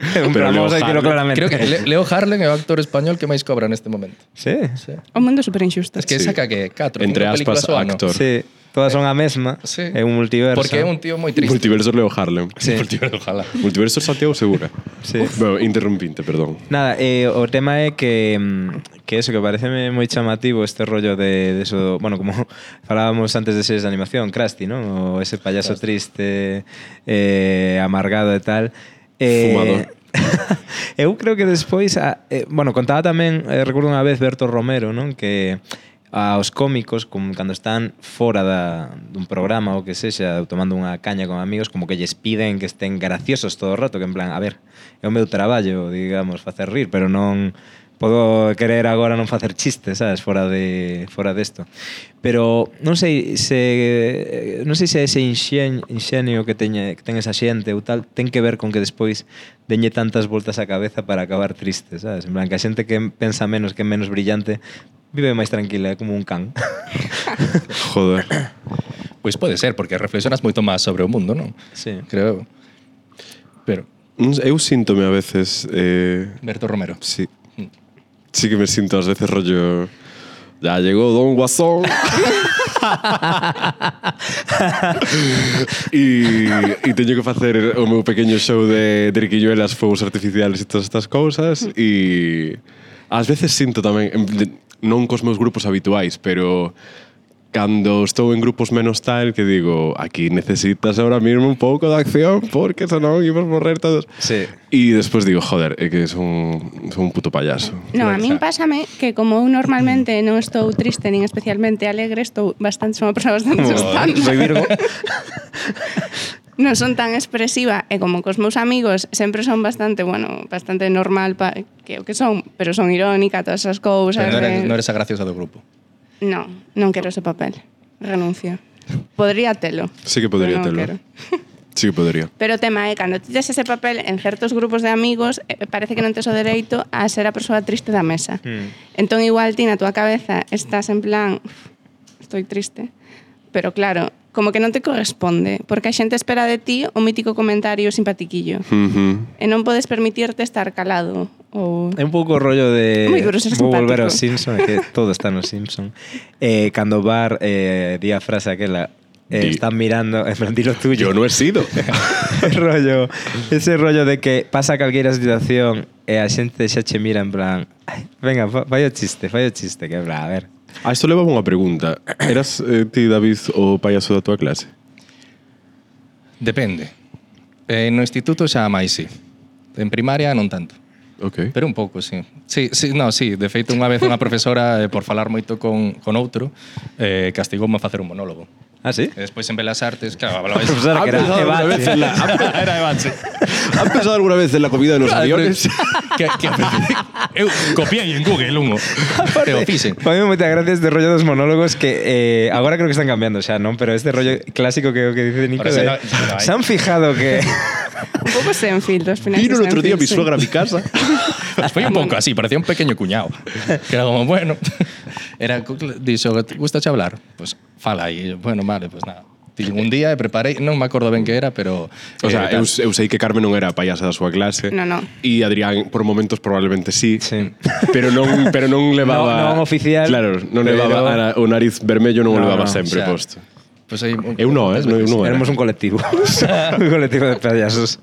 Speaker 3: 21, pero Leopardo-
Speaker 4: vamos a decirlo claramente.
Speaker 6: Creo que Le- Leo Harlen é o actor español que máis cobra neste momento.
Speaker 4: Sí.
Speaker 6: Sí.
Speaker 2: O mundo é superinxusto.
Speaker 6: Es que
Speaker 3: Sí.
Speaker 6: saca que 4
Speaker 3: Entre aspas, actor.
Speaker 4: Sí. Todas son a mesma.
Speaker 6: Sí.
Speaker 4: É un multiverso.
Speaker 6: Porque é un tío moi triste.
Speaker 3: Multiverso Leo Harlem.
Speaker 4: Sí.
Speaker 6: Multiverso, ojalá.
Speaker 3: Multiverso Santiago Segura.
Speaker 4: Sí.
Speaker 3: Bueno, interrumpinte, perdón.
Speaker 4: Nada, eh, o tema é que mm, que eso que pareceme moi chamativo este rollo de, de eso, bueno, como falábamos antes de series de animación, Krusty, ¿no? O ese payaso triste eh, amargado e tal. Eh,
Speaker 3: Fumador.
Speaker 4: eu creo que despois a, eh, bueno, contaba tamén, eh, recordo unha vez Berto Romero, non? Que aos cómicos como cando están fora da, dun programa ou que sexa tomando unha caña con amigos como que lles piden que estén graciosos todo o rato que en plan, a ver, é o meu traballo digamos, facer rir, pero non podo querer agora non facer chistes sabes, fora de fora desto pero non sei se eh, non sei se ese inxen, inxenio que teña que ten esa xente ou tal ten que ver con que despois deñe tantas voltas á cabeza para acabar triste, sabes? En plan, que a xente que pensa menos, que é menos brillante, vive máis tranquila, é como un can.
Speaker 3: Joder.
Speaker 6: Pois pode ser, porque reflexionas moito máis sobre o mundo, non?
Speaker 4: Sí.
Speaker 6: Creo. Pero,
Speaker 3: Non sei, Eu síntome a veces... Eh,
Speaker 6: Berto Romero.
Speaker 3: sí. Sí que me sinto ás veces rollo... Ya llegó Don Guasón. e, e teño que facer o meu pequeño show de triquilluelas, fogos artificiales e todas estas cousas e ás veces sinto tamén en pl- non cos meus grupos habituais, pero cando estou en grupos menos tal que digo, aquí necesitas ahora mismo un pouco de acción porque senón imos morrer todos.
Speaker 4: Sí.
Speaker 3: E despois digo, joder, é que son, son un puto payaso.
Speaker 2: No, a min pásame que como eu normalmente non estou triste nin especialmente alegre, estou bastante, sou unha persoa bastante
Speaker 4: Soy
Speaker 2: estándar.
Speaker 4: Virgo.
Speaker 2: Non son tan expresiva e como cos meus amigos sempre son bastante, bueno, bastante normal pa, que o que son, pero son irónica, todas esas cousas.
Speaker 6: Pero non eres,
Speaker 2: eh,
Speaker 6: non eres a graciosa do grupo.
Speaker 2: No, non quero ese papel. Renuncio. Podría telo.
Speaker 3: Sí que
Speaker 2: pero
Speaker 3: podría
Speaker 2: non
Speaker 3: telo.
Speaker 2: quero.
Speaker 3: Sí que podría.
Speaker 2: Pero o tema é, cando ti tes ese papel en certos grupos de amigos, eh, parece que non tes o dereito a ser a persoa triste da mesa.
Speaker 4: Mm.
Speaker 2: Entón igual ti na túa cabeza estás en plan, "Uf, estoy triste, pero claro, como que non te corresponde, porque a xente espera de ti o mítico comentario simpatiquillo.
Speaker 3: Uh
Speaker 2: E non podes permitirte estar calado ou
Speaker 3: Eh,
Speaker 4: É un pouco o rollo de
Speaker 2: Moi duro ser
Speaker 4: vou volver
Speaker 2: simpático.
Speaker 4: aos Simpson, é que todo está nos Simpson. Eh, cando Bar eh, di a frase aquela
Speaker 3: Di-
Speaker 4: eh, están mirando, en plan, dilo
Speaker 3: Yo
Speaker 4: tuyo.
Speaker 3: no he sido.
Speaker 4: rollo, ese rollo de que pasa calqueira situación e a xente xa che mira en plan, "Ai, venga, fa- fai o chiste, fai o chiste, que en plan, a ver.
Speaker 3: A isto levaba unha pregunta. Eras eh, ti, David, o payaso da túa clase?
Speaker 6: Depende. Eh, no instituto xa máis, sí. En primaria non tanto.
Speaker 3: Ok.
Speaker 6: Pero un pouco, sí. Sí, sí, no, sí. De feito, unha vez unha profesora, eh, por falar moito con, con outro, eh, castigoume a facer un monólogo.
Speaker 4: Ah, sí?
Speaker 6: E despois en Belas Artes, claro, hablabais...
Speaker 4: Profesora que
Speaker 3: ¿Han
Speaker 4: era
Speaker 3: pensado alguna
Speaker 4: Eva,
Speaker 3: vez en la- ¿Han-
Speaker 6: Era de Bache.
Speaker 3: ¿Han pensado alguna vez en la comida de los aviones?
Speaker 6: que, que, eu copiei en Google ungo. Pero fixen.
Speaker 4: A mí me moita gracia este rollo dos monólogos que eh, agora creo que están cambiando xa, non? Pero este rollo clásico que, que dice Nico
Speaker 6: Ahora sí,
Speaker 4: de,
Speaker 6: no, sí, no hay.
Speaker 4: se han fijado que...
Speaker 2: un pouco sen filtros.
Speaker 3: Vino el otro día mi suegra a mi casa.
Speaker 6: Foi un pouco así, parecía un pequeño cuñado. Que era como, bueno... Era, dixo, gusta hablar? Pues fala aí. Eu, Bueno, vale, pues nada. Tiñen un día e preparei, non me acordo ben que era, pero...
Speaker 3: O sea,
Speaker 6: eh,
Speaker 3: eu,
Speaker 6: tal.
Speaker 3: eu sei que Carmen non era a payasa da súa clase.
Speaker 2: No, no.
Speaker 3: E Adrián, por momentos, probablemente sí.
Speaker 4: Sí.
Speaker 3: Pero non, pero non levaba...
Speaker 4: Non- non oficial,
Speaker 3: Claro, non
Speaker 4: pero-
Speaker 3: levaba a, o nariz vermello non o
Speaker 4: No,
Speaker 3: levaba
Speaker 4: no,
Speaker 3: sempre
Speaker 6: o sea,
Speaker 3: posto.
Speaker 6: Pues aí,
Speaker 3: Eu non, eh,
Speaker 6: moitas
Speaker 3: non- eu
Speaker 6: veces.
Speaker 3: non era.
Speaker 4: Éramos un colectivo. un colectivo de payasos.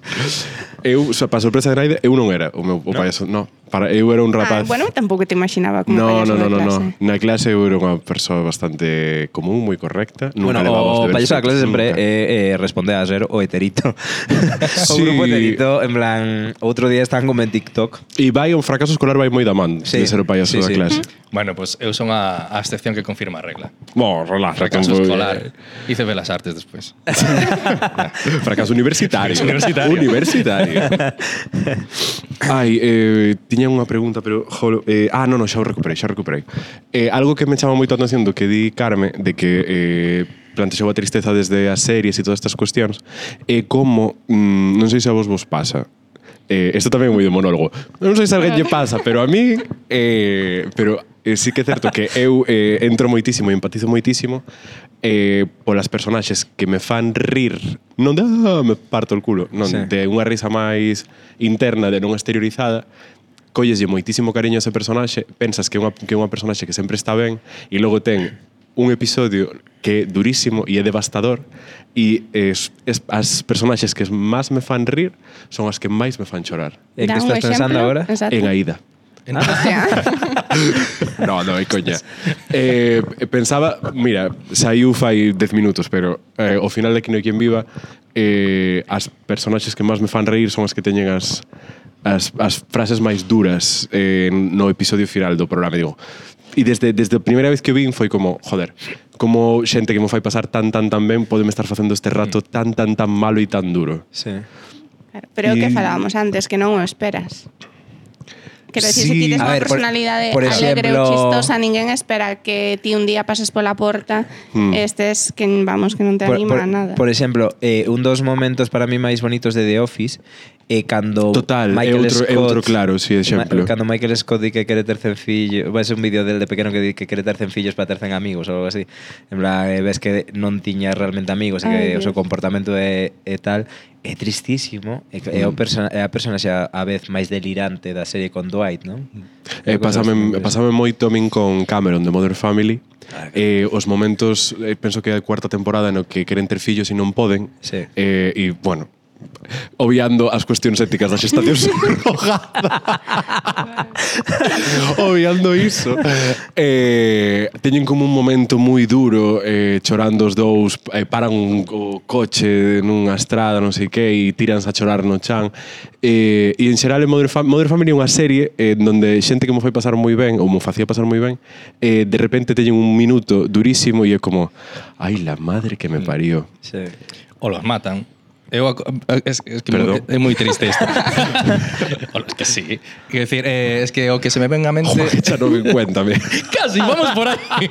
Speaker 3: Eu, o sea, para sorpresa de Naide, eu non era o meu o payaso. No. Para, eu era un
Speaker 2: Ah,
Speaker 3: rapaz...
Speaker 2: bueno, tampouco te imaginaba como
Speaker 3: No,
Speaker 2: payaso
Speaker 3: no, no,
Speaker 2: de
Speaker 3: no,
Speaker 2: clase.
Speaker 3: no. Na clase eu era unha persoa bastante común, moi correcta. Nunca
Speaker 4: bueno,
Speaker 3: levaba os
Speaker 4: o
Speaker 3: deberes
Speaker 4: payaso da clase
Speaker 3: feitos,
Speaker 4: sempre
Speaker 3: nunca.
Speaker 4: eh, eh, responde a ser o heterito. o
Speaker 3: Sí.
Speaker 4: grupo heterito, en plan, outro día estaban como en TikTok.
Speaker 3: E vai un fracaso escolar vai moi da man sí.
Speaker 4: Sí.
Speaker 3: de ser o payaso
Speaker 4: Sí,
Speaker 3: da
Speaker 4: sí.
Speaker 3: clase.
Speaker 6: Bueno, pues eu son a, a excepción que confirma a regla.
Speaker 3: Bo, eh, relaxa.
Speaker 6: Fracaso
Speaker 3: tampouco-
Speaker 6: escolar. Hice Belas Artes despois.
Speaker 3: Fracaso universitario.
Speaker 6: Universitario.
Speaker 3: universitario. Ai, eh, tiña unha pregunta, pero... Jolo, eh, ah, non, non, xa o recuperei, xa o recuperei. Eh, algo que me chama moito a atención do que di Carme, de que eh, plantexou a tristeza desde as series e todas estas cuestións, é como, mm, non sei se a vos vos pasa, eh, isto tamén é moi de monólogo. Non sei se alguén lle pasa, pero a mí eh, pero eh, sí que é certo que eu eh, entro moitísimo e empatizo moitísimo eh, polas personaxes que me fan rir non de ah, me parto el culo non,
Speaker 4: Sí.
Speaker 3: sí. de eh, unha risa máis interna de non exteriorizada colleslle moitísimo cariño a ese personaxe, pensas que é unha, que é unha personaxe que sempre está ben e logo ten un episodio que é durísimo e é devastador e es, es, as personaxes que máis me fan rir son as que máis me fan chorar.
Speaker 4: ¿En qué
Speaker 2: Da un
Speaker 4: estás pensando
Speaker 2: ejemplo.
Speaker 4: ahora?
Speaker 2: Exacto.
Speaker 3: En Aida.
Speaker 2: O sea,
Speaker 3: No, no, é coña. Eh, pensaba, mira, saiu fai 10 minutos, pero eh, ao final de Aquí no hai quen viva, eh, as personaxes que máis me fan reír son as que teñen as, as, as frases máis duras eh, no episodio final do programa, digo. E desde, desde a primeira vez que o vin foi como, joder, como xente que me fai pasar tan, tan, tan ben, podeme estar facendo este rato tan, tan, tan malo e tan duro.
Speaker 4: Sí.
Speaker 2: claro, pero é o que
Speaker 3: Y-
Speaker 2: falábamos antes, que non o esperas. Quero dicir, se
Speaker 3: Sí.
Speaker 2: ti tes
Speaker 4: A
Speaker 2: unha
Speaker 4: ver, por-
Speaker 2: personalidade
Speaker 4: por
Speaker 2: alegre
Speaker 4: exemplo-
Speaker 2: ou chistosa, ninguén espera que ti un día pases pola porta,
Speaker 3: Hmm.
Speaker 2: estes que vamos, que non te anima a nada.
Speaker 4: por exemplo, eh, un dos momentos para mí máis bonitos de The Office é eh, cando
Speaker 3: Total, é
Speaker 4: Michael
Speaker 3: outro,
Speaker 4: Scott
Speaker 3: é outro claro, si, sí, exemplo.
Speaker 4: Ma, cando Michael Scott di que quere ter cen fillos, vai ser un vídeo del de pequeno que di que quere ter cen fillos para ter cen amigos ou algo así. En plan, eh, ves que non tiña realmente amigos, e que
Speaker 2: Ai,
Speaker 4: o seu
Speaker 2: Dios.
Speaker 4: comportamento é, é tal, é tristísimo, é, que é,
Speaker 3: Mm.
Speaker 4: o persona, é a persona xa a vez máis delirante da serie con Dwight, non?
Speaker 3: Eh,
Speaker 4: Cosas
Speaker 3: pásame,
Speaker 4: así.
Speaker 3: pásame moito a min con Cameron de Modern Family. Eh, os momentos, eh, penso que é a cuarta temporada no que queren ter fillos e non poden.
Speaker 4: Sí.
Speaker 3: Eh, e, bueno, obviando as cuestións éticas da xestación subrogada. obviando iso. Eh, teñen como un momento moi duro eh, chorando os dous, eh, paran un, o coche nunha estrada, non sei que, e tiranse a chorar no chan. Eh, e en xeral, en Modern, Fam Modern Family é unha serie eh, donde xente que mo foi pasar moi ben, ou mo facía pasar moi ben, eh, de repente teñen un minuto durísimo e é como, ai, la madre que me parió.
Speaker 4: Sí.
Speaker 6: O los matan. Eu ac- es, es que
Speaker 3: Perdón.
Speaker 6: é moi triste isto. O los que sí. Quer decir, eh, es que o que se me venga a mente...
Speaker 3: Joder, xa non me cuéntame.
Speaker 6: Casi, vamos por ahí.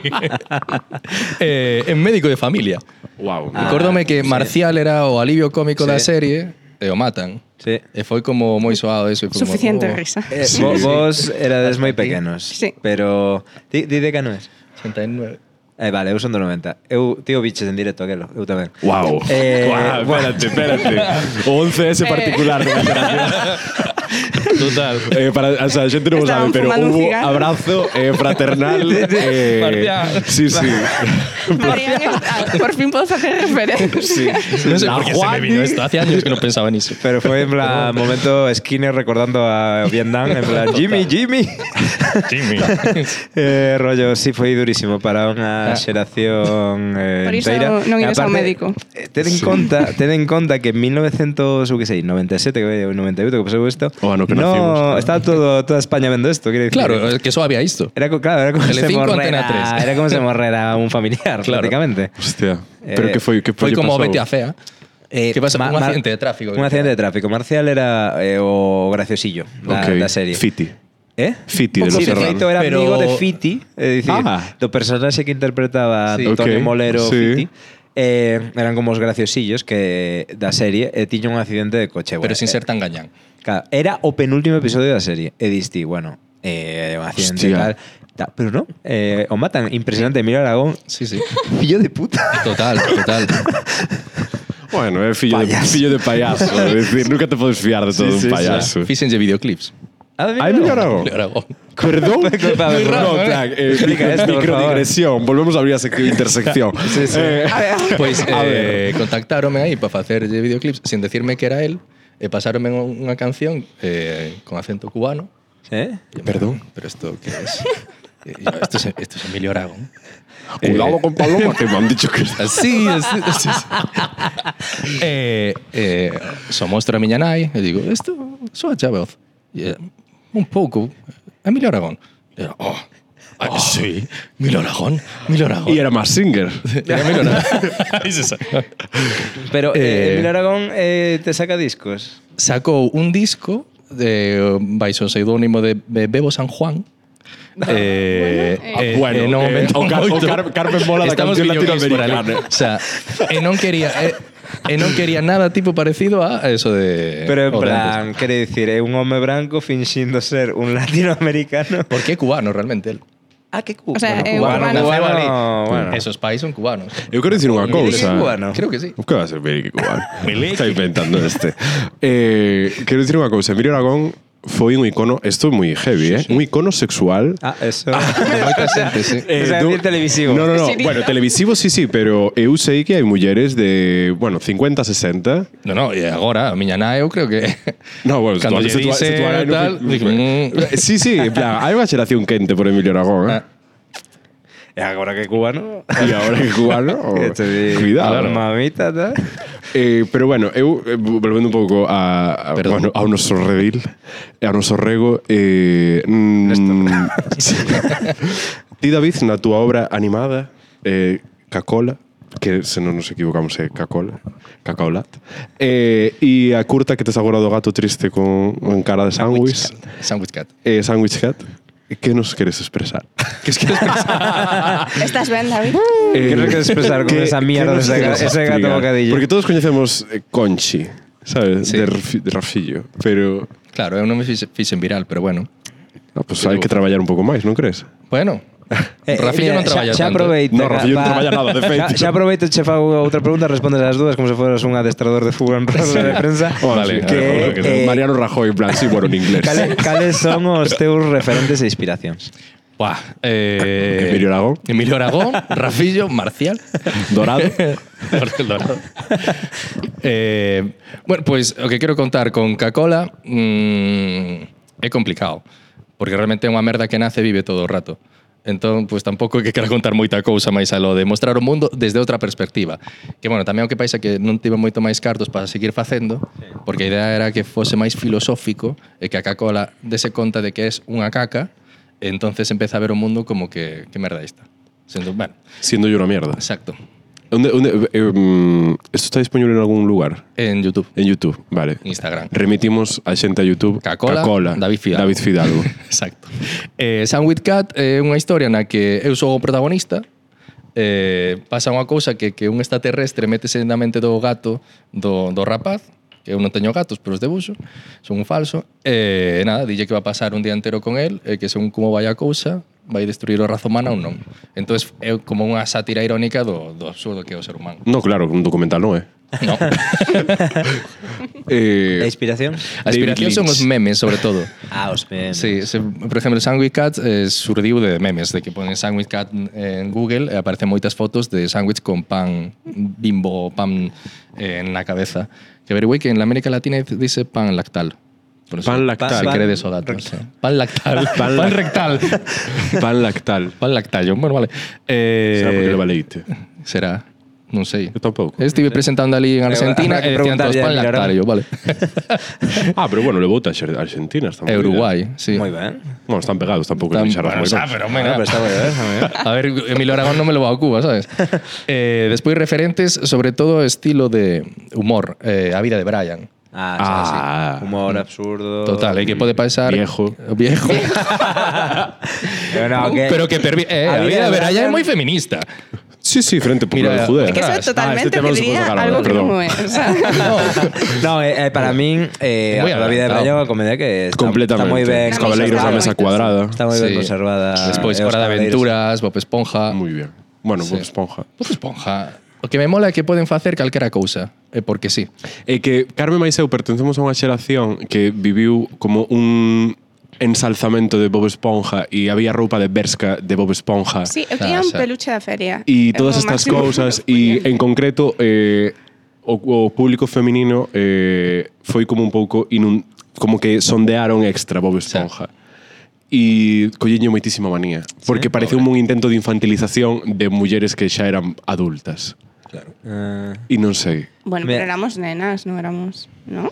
Speaker 6: eh, en médico de familia.
Speaker 3: wow.
Speaker 4: Ah,
Speaker 6: Acórdome que
Speaker 4: sí.
Speaker 6: Marcial era o alivio cómico da
Speaker 4: Sí.
Speaker 6: serie e o matan.
Speaker 4: Sí.
Speaker 6: E foi como moi suado eso. e foi como,
Speaker 2: Suficiente
Speaker 6: oh,
Speaker 2: risa.
Speaker 4: Eh,
Speaker 3: Sí, sí.
Speaker 4: vo, Vos erades moi pequenos,
Speaker 2: Sí.
Speaker 4: pero di, di de que non es?
Speaker 6: "Uh, 69.
Speaker 4: Eh, vale, eu son do 90. Eu, tío, biches en directo aquelo, eu tamén.
Speaker 3: Wow.
Speaker 4: Eh,
Speaker 3: Guau,
Speaker 4: bueno.
Speaker 3: espérate, espérate. O
Speaker 2: Eh.
Speaker 3: 11S particular. de generación.
Speaker 6: Total.
Speaker 3: Eh, para, o sea, a xente non o
Speaker 2: Estaban
Speaker 3: sabe, pero
Speaker 2: fumando un
Speaker 3: hubo
Speaker 2: cigarro.
Speaker 3: abrazo eh, fraternal. eh,
Speaker 6: Marcial.
Speaker 3: sí, sí.
Speaker 2: Adrián está- ah, por fin podo facer referencia.
Speaker 3: sí.
Speaker 6: No sé
Speaker 3: La
Speaker 6: por qué se me
Speaker 3: Juani.
Speaker 6: vino esto. Hace años que no pensaba en eso.
Speaker 4: Pero fue en plan momento Skinner recordando a Vietnam, en plan Jimmy, Jimmy.
Speaker 6: Jimmy.
Speaker 4: Eh, rollo, sí, foi durísimo para unha
Speaker 6: Ah.
Speaker 4: xeración eh,
Speaker 2: Por iso
Speaker 4: inteira.
Speaker 2: non
Speaker 4: E
Speaker 2: ides ao
Speaker 4: aparte,
Speaker 2: médico.
Speaker 4: eh, Ten en conta, ten en conta que en 1900, ou que sei, 97 ou 98 que pasou isto.
Speaker 3: O
Speaker 6: Oh,
Speaker 3: ano que
Speaker 4: no,
Speaker 3: nacimos.
Speaker 4: estaba todo toda España vendo isto, quero dicir.
Speaker 6: Claro, es que eso había visto.
Speaker 4: Era, co- claro, era como se
Speaker 6: Telecinco,
Speaker 4: morrera,
Speaker 6: Antena 3.
Speaker 4: era como se morrera un familiar,
Speaker 6: Claro.
Speaker 4: prácticamente.
Speaker 3: Hostia. Pero
Speaker 4: Eh,
Speaker 3: que foi? Que
Speaker 6: Foi
Speaker 3: lle
Speaker 6: como
Speaker 3: pasou?
Speaker 6: vete a fea.
Speaker 4: Eh,
Speaker 6: ¿Qué pasa?
Speaker 4: Ma-
Speaker 6: Un
Speaker 4: Mar-
Speaker 6: accidente de tráfico.
Speaker 4: Un accidente de tráfico. Marcial era eh, o graciosillo da,
Speaker 3: Ok.
Speaker 4: da serie.
Speaker 3: Fiti.
Speaker 4: Eh?
Speaker 3: Fiti de los
Speaker 4: Sí, de
Speaker 3: Serrano.
Speaker 4: feito era
Speaker 6: Pero-
Speaker 4: amigo de Fiti, é dicir,
Speaker 3: Ah.
Speaker 4: do personaxe que interpretaba
Speaker 6: Sí.
Speaker 4: Antonio
Speaker 3: Ok,
Speaker 4: Molero
Speaker 3: sí.
Speaker 4: Fiti. Eh, eran como os graciosillos que da serie e tiña un accidente de coche.
Speaker 6: Pero
Speaker 4: bueno,
Speaker 6: sin
Speaker 4: eh,
Speaker 6: ser tan gañán.
Speaker 4: Claro, era o penúltimo episodio da serie. E diste, bueno, eh, un accidente e
Speaker 3: Hostia.
Speaker 4: tal. Ta- Pero non, eh, o matan. Impresionante, Emilio Aragón,
Speaker 6: Sí, sí.
Speaker 4: fillo de puta.
Speaker 6: Total, total.
Speaker 3: Bueno, é fillo, de,
Speaker 4: Payaso.
Speaker 3: fillo de payaso. é dicir, nunca te podes fiar de todo un
Speaker 4: Sí, sí, sí.
Speaker 3: payaso.
Speaker 6: Fíjense videoclips.
Speaker 4: Ah,
Speaker 3: Ai, Ah, Emilio Aragón.
Speaker 6: Aragón.
Speaker 3: Perdón.
Speaker 4: Muy raro,
Speaker 3: no,
Speaker 4: ¿eh?
Speaker 3: plan, eh,
Speaker 4: Explica
Speaker 3: micro-
Speaker 4: esto, por
Speaker 3: microdigresión. Volvemos a abrir a sección intersección.
Speaker 4: Sí, sí.
Speaker 3: Eh,
Speaker 6: Pois
Speaker 3: A
Speaker 6: eh, contactaronme aí para facer videoclips sin decirme que era él e pasaronme unha canción eh, con acento cubano.
Speaker 4: Eh?
Speaker 6: E eu,
Speaker 3: Perdón.
Speaker 6: Pero isto que es? E yo, Esto es, esto es Emilio Aragón.
Speaker 3: Cuidado
Speaker 6: Eh,
Speaker 3: con Paloma, que me han dicho que...
Speaker 6: Así, así, así. así. eh, eh, so mostro a miña nai e digo, isto soa xa voz. E, ela, un pouco, Emilio Aragón. E, ela, oh, oh, sí, Emilio Aragón, Emilio Aragón.
Speaker 3: Y era más singer. Eh,
Speaker 6: Era Emilio Aragón. Es esa.
Speaker 4: Pero eh,
Speaker 6: Eh,
Speaker 4: Emilio Aragón eh, te saca discos.
Speaker 6: sacou un disco de um, baixo o pseudónimo de Be- Bebo San Juan.
Speaker 4: Ah,
Speaker 6: Eh, eh,
Speaker 3: Bueno,
Speaker 6: eh, non
Speaker 3: eh,
Speaker 6: aumentou
Speaker 3: o Car- o
Speaker 6: moito.
Speaker 3: Car- Carmen Mola da
Speaker 6: Estamos
Speaker 3: canción
Speaker 6: videoclips por ali.
Speaker 3: latinoamericana.
Speaker 6: O sea, e non quería... Eh, e non quería nada tipo parecido a eso de...
Speaker 4: Pero en
Speaker 6: o de
Speaker 4: plan,
Speaker 6: antes.
Speaker 4: quere dicir, é un home branco finxindo ser un latinoamericano.
Speaker 6: Porque é cubano realmente el.
Speaker 4: Ah, que
Speaker 2: O
Speaker 4: cu.
Speaker 2: sea, é un
Speaker 4: cubano, cubano,
Speaker 2: cubano.
Speaker 4: cubano, bueno.
Speaker 6: Esos pais son cubanos.
Speaker 3: Eu quero dicir unha
Speaker 4: Milique
Speaker 3: cousa.
Speaker 4: cubano.
Speaker 6: Creo que sí.
Speaker 3: O que va a ser Milique cubano? Está inventando este. Eh, quero dicir unha cousa. Emilio Aragón foi un icono, isto é moi heavy, eh? Un icono sexual
Speaker 4: Ah, eso.
Speaker 6: Moita xente,
Speaker 4: O
Speaker 6: sí.
Speaker 4: sea, decir televisivo.
Speaker 3: No, no, no.
Speaker 2: Sí, diga.
Speaker 3: Bueno, televisivo sí, sí, pero eu sei que hai mulleres de, bueno, 50, 60.
Speaker 6: No, no, e agora, a miña nai, eu creo que...
Speaker 3: No, bueno,
Speaker 6: Cando lle
Speaker 3: tú-
Speaker 6: dicen
Speaker 3: tú- tú- tú-
Speaker 6: tal,
Speaker 3: tú-
Speaker 6: dicen, mm. Ah.
Speaker 3: Sí, sí, en plan, hai unha xeración quente por Emilio Aragón, eh?
Speaker 4: E agora que cubano...
Speaker 3: E agora que cubano, oh,
Speaker 4: que te di,
Speaker 3: cuidado.
Speaker 4: claro. mamita, tal.
Speaker 3: Eh, pero bueno, eu eh, volvendo un pouco a, a bueno,
Speaker 6: Perdón.
Speaker 3: ao noso redil, e ao noso rego, eh, mm, sí. ti David na túa obra animada eh, Cacola, que se non nos equivocamos é Cacola, Cacaolat. Eh, e a curta que tes agora do gato triste con en cara de sándwich,
Speaker 6: Sandwich Cat.
Speaker 3: eh, Sandwich Cat. Que nos queres expresar? Que es que
Speaker 2: Estás ben, David?
Speaker 3: Eh,
Speaker 4: Que no quieres expresar con esa mierda,
Speaker 3: nos
Speaker 4: ese ga-
Speaker 3: quieres
Speaker 4: ese gato
Speaker 3: explicar?
Speaker 4: bocadillo.
Speaker 3: Porque todos conocemos eh, Conchi, ¿sabes?
Speaker 6: Sí.
Speaker 3: De, Rafi- de Rafillo. Pero
Speaker 6: Claro, eu non me fixe- fixen viral, pero bueno.
Speaker 3: ah, pues hay que trabajar un poco más, ¿no crees?
Speaker 6: Bueno,
Speaker 4: Eh,
Speaker 6: Rafillo non
Speaker 4: mira,
Speaker 6: traballa
Speaker 4: xa, xa
Speaker 6: tanto.
Speaker 4: aproveito.
Speaker 3: ¿eh? No, Rafillo non traballa nada, de feito.
Speaker 4: Xa, xa aproveito, che fago outra pregunta, respondes as dúas como se foras un adestrador de fútbol en roda de prensa.
Speaker 3: Vale,
Speaker 4: que,
Speaker 3: claro, que sí.
Speaker 4: eh,
Speaker 3: Mariano Rajoy, en plan, sí, bueno, en inglés.
Speaker 4: Cale, cales son os teus referentes e inspiracións?
Speaker 6: Buah, eh,
Speaker 3: Emilio Aragón.
Speaker 6: Emilio Aragón, Rafillo, Marcial.
Speaker 3: Dorado.
Speaker 6: Marcial Dorado. Eh, bueno, pues o que quero contar con Cacola mm, é complicado, porque realmente é unha merda que nace e vive todo o rato. Entón, pues tampouco é que quero contar moita cousa máis a lo de mostrar o mundo desde outra perspectiva. Que, bueno, tamén o que pasa é que non tive moito máis cartos para seguir facendo, porque a idea era que fose máis filosófico e que a Cacola dese conta de que é unha caca, e entonces empeza a ver o mundo como que, que merda é esta. Sendo, bueno,
Speaker 3: Siendo yo una mierda.
Speaker 6: exacto,
Speaker 3: ¿Dónde- dónde- eh, mm, ¿Esto está disponible en algún lugar?
Speaker 6: en YouTube,
Speaker 3: En YouTube, vale.
Speaker 6: Instagram.
Speaker 3: Remitimos a xente a YouTube.
Speaker 6: Cacola, David Fidalgo.
Speaker 3: David Fidalgo.
Speaker 6: Exacto. Eh, Sandwich Cat é unha historia na que eu sou o protagonista, eh, pasa unha cousa que, que un extraterrestre métese na mente do gato do, do rapaz, que eu non teño gatos, pero os debuxo, son un falso, e eh, nada, dille que va a pasar un día entero con el, e que según como vai a cousa, vai destruir a raza humana ou non. Entón, é como unha sátira irónica do, do absurdo que é o ser humano.
Speaker 3: No, claro, un documental no, eh.
Speaker 6: No.
Speaker 4: E
Speaker 3: eh
Speaker 4: inspiración?
Speaker 6: A inspiración son os memes, sobre todo.
Speaker 4: Ah, os memes.
Speaker 6: Sí, se, por exemplo, Sandwich Cat eh, surdiu de memes, de que ponen Sandwich Cat en Google e aparecen moitas fotos de sandwich con pan bimbo, pan eh, en la cabeza. Que averigüei que en la América Latina dice pan lactal. Por eso,
Speaker 3: Pan lactal.
Speaker 6: Se
Speaker 4: Pan
Speaker 6: cree de esos datos. sí. Pan lactal. pan,
Speaker 3: lac-
Speaker 6: rectal.
Speaker 3: pan lactal.
Speaker 6: pan lactallo. Bueno, vale. Eh,
Speaker 3: Será porque le valeíte.
Speaker 6: Será. Non sei.
Speaker 3: Eu tampouco.
Speaker 6: Estive presentando ali en Argentina
Speaker 4: habrá que
Speaker 6: e decían todos
Speaker 4: preguntarlle a
Speaker 6: pan
Speaker 4: Emilio Aragón".
Speaker 6: lactallo, vale.
Speaker 3: Ah, pero bueno, le vota a Xer- Argentina. Está
Speaker 6: E
Speaker 3: movida.
Speaker 6: Uruguai, sí.
Speaker 4: Moi ben.
Speaker 3: Bueno, están pegados, tampoco
Speaker 6: Tan-
Speaker 3: están, charras muy
Speaker 6: bueno, o sea,
Speaker 3: mal.
Speaker 6: pero,
Speaker 4: Bueno,
Speaker 6: mira,
Speaker 4: pero está moi ben, está moi ben.
Speaker 6: A ver, Emilio Aragón no me lo va a Cuba, ¿sabes? Eh, después referentes, sobre todo estilo de humor, eh, a vida de Brian.
Speaker 3: Ah.
Speaker 4: Ah, ah sí. Humor absurdo.
Speaker 6: Total, ¿eh? que puede pasar...
Speaker 3: Viejo.
Speaker 6: Viejo.
Speaker 4: Pero, no, que,
Speaker 6: Pero que... pervi- eh,
Speaker 4: A
Speaker 6: a
Speaker 4: vida
Speaker 6: vida
Speaker 4: de
Speaker 6: de Brian
Speaker 4: Brian-
Speaker 6: es muy feminista.
Speaker 3: Sí, sí, Frente Popular
Speaker 6: Mira,
Speaker 3: de Judea.
Speaker 6: es
Speaker 2: Que eso
Speaker 6: Ah,
Speaker 2: é totalmente,
Speaker 3: este tema
Speaker 2: que
Speaker 3: no se puede
Speaker 2: diría
Speaker 3: tocar ahora,
Speaker 2: algo que
Speaker 3: perdón.
Speaker 2: non é. O sea,
Speaker 4: no, eh, eh, para min, eh,
Speaker 6: Moi
Speaker 4: a vida de
Speaker 6: adelantado.
Speaker 4: Brian é unha comedia que está,
Speaker 3: Completamente.
Speaker 4: está moi ben.
Speaker 3: Os cabaleiros da
Speaker 4: conservada.
Speaker 3: mesa cuadrada.
Speaker 4: Está moi ben
Speaker 6: Sí.
Speaker 4: conservada.
Speaker 6: Después
Speaker 4: E os
Speaker 6: Hora de
Speaker 4: Cabaleiros-
Speaker 6: Aventuras, Bob Esponja...
Speaker 3: Ah, Muy bien. Bueno,
Speaker 6: Sí.
Speaker 3: Bob Esponja.
Speaker 6: Bob Esponja... O que me mola é que poden facer calquera cousa, eh, porque sí.
Speaker 3: E que Carmen Maiseu pertencemos a unha xeración que viviu como un ensalzamento de Bob Esponja e había roupa de Berska de Bob Esponja.
Speaker 2: sí, eu tiña un
Speaker 6: Xa, xa.
Speaker 2: peluche da feria.
Speaker 3: E
Speaker 2: É
Speaker 3: todas
Speaker 2: o
Speaker 3: estas
Speaker 2: máximo que
Speaker 3: cousas
Speaker 2: eu
Speaker 3: e
Speaker 2: poñía.
Speaker 3: en concreto eh, o, o público feminino eh, foi como un pouco inun, como que sondearon extra Bob Esponja. E colleño moitísima manía, porque sí, pareceu un intento de infantilización de mulleres que xa eran adultas.
Speaker 4: Eh,
Speaker 3: E non sei.
Speaker 2: Bueno,
Speaker 4: Me-
Speaker 2: pero éramos nenas, non éramos, ¿no?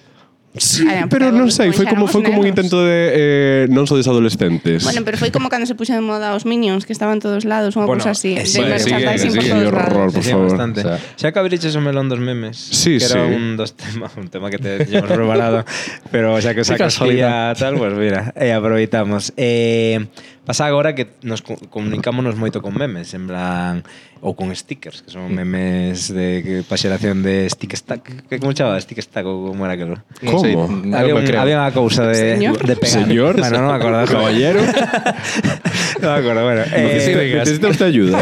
Speaker 3: Sí,
Speaker 2: Ah,
Speaker 3: pero
Speaker 2: pero
Speaker 3: non sei, foi
Speaker 2: pois
Speaker 3: como
Speaker 2: éramos
Speaker 3: foi como un
Speaker 2: nenos.
Speaker 3: intento de eh, non sodes adolescentes.
Speaker 2: Bueno, pero foi como cando se puxo de moda os Minions, que estaban todos lados, unha
Speaker 4: Bueno,
Speaker 2: cousa así,
Speaker 4: eh,
Speaker 2: de
Speaker 4: sí,
Speaker 2: merchandising
Speaker 6: sí,
Speaker 2: por
Speaker 6: sí,
Speaker 2: todos
Speaker 3: qué horror.
Speaker 2: lados.
Speaker 3: por
Speaker 4: sí,
Speaker 3: favor.
Speaker 4: bastante.
Speaker 6: O sea.
Speaker 4: Xa que abriches o melón dos memes.
Speaker 3: Sí,
Speaker 4: que era
Speaker 3: sí.
Speaker 4: un dos temas, un tema que te llevamos preparado, pero xa que
Speaker 6: Qué
Speaker 4: sacas día
Speaker 6: casualidad.
Speaker 4: tal, pues mira, eh, aproveitamos. Eh, Pasa agora que nos co- comunicámonos moito con memes, en plan, ou con stickers, que son memes de que pa xeración de stick stack, que como chaba, stick stack ou como era aquilo.
Speaker 6: Non sei,
Speaker 3: Como?
Speaker 6: non
Speaker 4: Había,
Speaker 6: me
Speaker 4: un,
Speaker 6: creo.
Speaker 4: había unha cousa de,
Speaker 2: Señor.
Speaker 4: de pegar.
Speaker 3: Señor.
Speaker 4: Bueno, non me acordo.
Speaker 3: Caballero.
Speaker 4: non me acordo, bueno. eh,
Speaker 3: Necesito- necesito usted ayuda.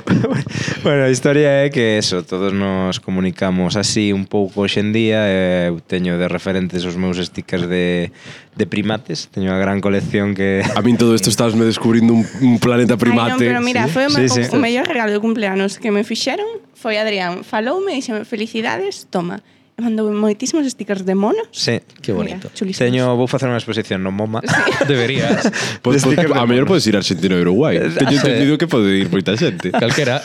Speaker 4: bueno, a historia é que eso, todos nos comunicamos así un pouco hoxendía, eh, eu teño de referentes os meus stickers de, de primates, teño unha gran colección que...
Speaker 3: A mí en todo esto estabas me descubrindo un, un planeta
Speaker 2: Ai, non,
Speaker 3: primate.
Speaker 2: pero mira, foi o, me,
Speaker 4: Sí, sí.
Speaker 2: o mellor regalo de cumpleanos que me fixeron foi Adrián. Faloume e dixeme felicidades, toma. E mandou moitísimos stickers de monos.
Speaker 4: Sí.
Speaker 6: Qué bonito.
Speaker 2: Mira, chulísimos.
Speaker 4: Teño, vou facer unha exposición no MoMA.
Speaker 6: Deberías.
Speaker 3: Pois-
Speaker 4: de sticker
Speaker 3: pois- a
Speaker 4: de
Speaker 3: mellor
Speaker 4: mono.
Speaker 3: podes ir a Argentina e Uruguai. Teño
Speaker 6: sí.
Speaker 3: entendido que pode ir moita xente.
Speaker 6: Calquera.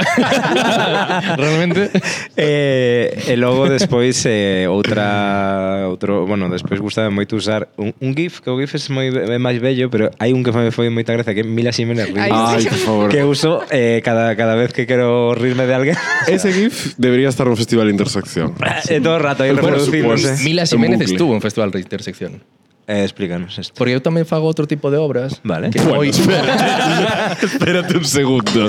Speaker 6: Realmente.
Speaker 4: eh, e logo despois eh, outra outro, bueno, despois gustaba moito usar un, un gif, que o gif é moi é máis bello, pero hai un que me foi moita gracia que é Mila Ximénez
Speaker 2: Ai,
Speaker 3: Ai,
Speaker 4: Ríos,
Speaker 3: por favor.
Speaker 4: que uso eh, cada cada vez que quero rirme de alguén.
Speaker 3: Ese GIF debería estar en un festival de intersección.
Speaker 4: Eh, todo o rato aí
Speaker 3: Por
Speaker 4: reproducirse.
Speaker 3: supuesto.
Speaker 6: Mila
Speaker 3: En
Speaker 6: Ximénez
Speaker 3: bucle.
Speaker 6: estuvo en Festival de Intersección.
Speaker 4: Eh, explícanos isto.
Speaker 6: Porque eu tamén fago outro tipo de obras.
Speaker 4: Vale.
Speaker 6: Que
Speaker 3: Bueno,
Speaker 6: hoy,
Speaker 3: espérate, espérate un segundo.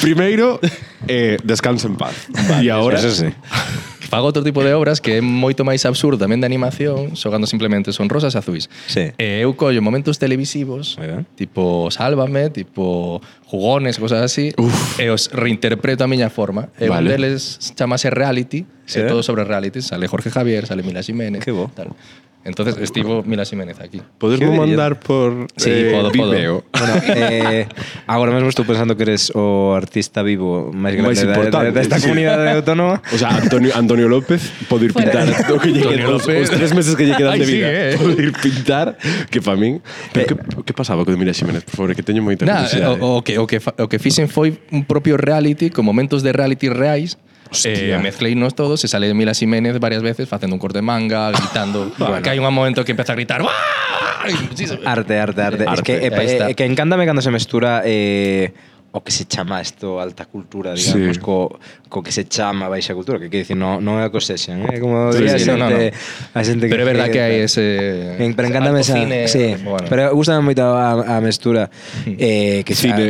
Speaker 3: Primeiro, eh, descansa en paz. e agora...
Speaker 4: eso sí.
Speaker 6: fago outro tipo de obras que é moito máis absurdo tamén de animación, xogando simplemente son rosas azuis.
Speaker 4: Sí.
Speaker 6: E eu collo momentos televisivos,
Speaker 4: Moi ben.
Speaker 6: tipo Sálvame, tipo Jugones, cosas así,
Speaker 3: Uf.
Speaker 6: e os reinterpreto a miña forma. E
Speaker 3: Vale.
Speaker 6: un deles chamase Reality,
Speaker 4: Sí.
Speaker 6: é todo sobre reality. Sale Jorge Javier, sale Mila Ximénez.
Speaker 4: Qué bo.
Speaker 6: Tal. Entonces estivo Mila Ximénez aquí.
Speaker 3: Podermo
Speaker 4: Que
Speaker 3: mandar por
Speaker 6: Sí,
Speaker 3: eh,
Speaker 6: podo, podo.
Speaker 3: Vimeo.
Speaker 4: Bueno, eh, agora mesmo estou pensando que eres o artista vivo máis grande
Speaker 3: Máis
Speaker 4: da-
Speaker 3: importante,
Speaker 4: da, desta
Speaker 3: sí.
Speaker 4: comunidade autónoma.
Speaker 3: O sea, Antonio, Antonio López pode ir
Speaker 2: Fuera.
Speaker 3: pintar o que lle
Speaker 6: Antonio
Speaker 3: quedan, os,
Speaker 6: López.
Speaker 3: os tres meses que lle quedan
Speaker 6: Ay,
Speaker 3: de
Speaker 6: sigue,
Speaker 3: vida.
Speaker 6: eh.
Speaker 3: Pode ir pintar, que pa min... Pero que, que pasaba con Mila Ximénez? Por favor, que teño moita
Speaker 6: Nah,
Speaker 3: curiosidade.
Speaker 6: eh, o, o, que, o, que, fa- o que fixen foi un propio reality con momentos de reality reais
Speaker 3: Hostia.
Speaker 6: Eh, mezcleinos todos, se sale Mila Ximénez varias veces facendo un corte de manga, gritando bueno. que hai un momento que empeza a gritar "¡Uah!" Y muchísimo-
Speaker 4: Arte, arte, arte.
Speaker 6: Arte,
Speaker 4: Es que, eh,
Speaker 6: ahí
Speaker 4: eh,
Speaker 6: está.
Speaker 4: que encántame cando se mestura eh, o que se chama isto alta cultura, digamos,
Speaker 3: Sí.
Speaker 4: co, co que se chama baixa cultura, que quer dicir, non, non é a cosexen, eh? como
Speaker 6: Sí,
Speaker 4: diría a
Speaker 6: sí,
Speaker 4: xente,
Speaker 6: no, no,
Speaker 4: a xente que...
Speaker 6: Pero é verdad que hai
Speaker 4: eh,
Speaker 6: ese
Speaker 4: En- Pero encántame esa,
Speaker 6: autocine,
Speaker 4: sí,
Speaker 6: bueno.
Speaker 4: pero gustame moito a, a mestura eh, que xa-
Speaker 3: Cine.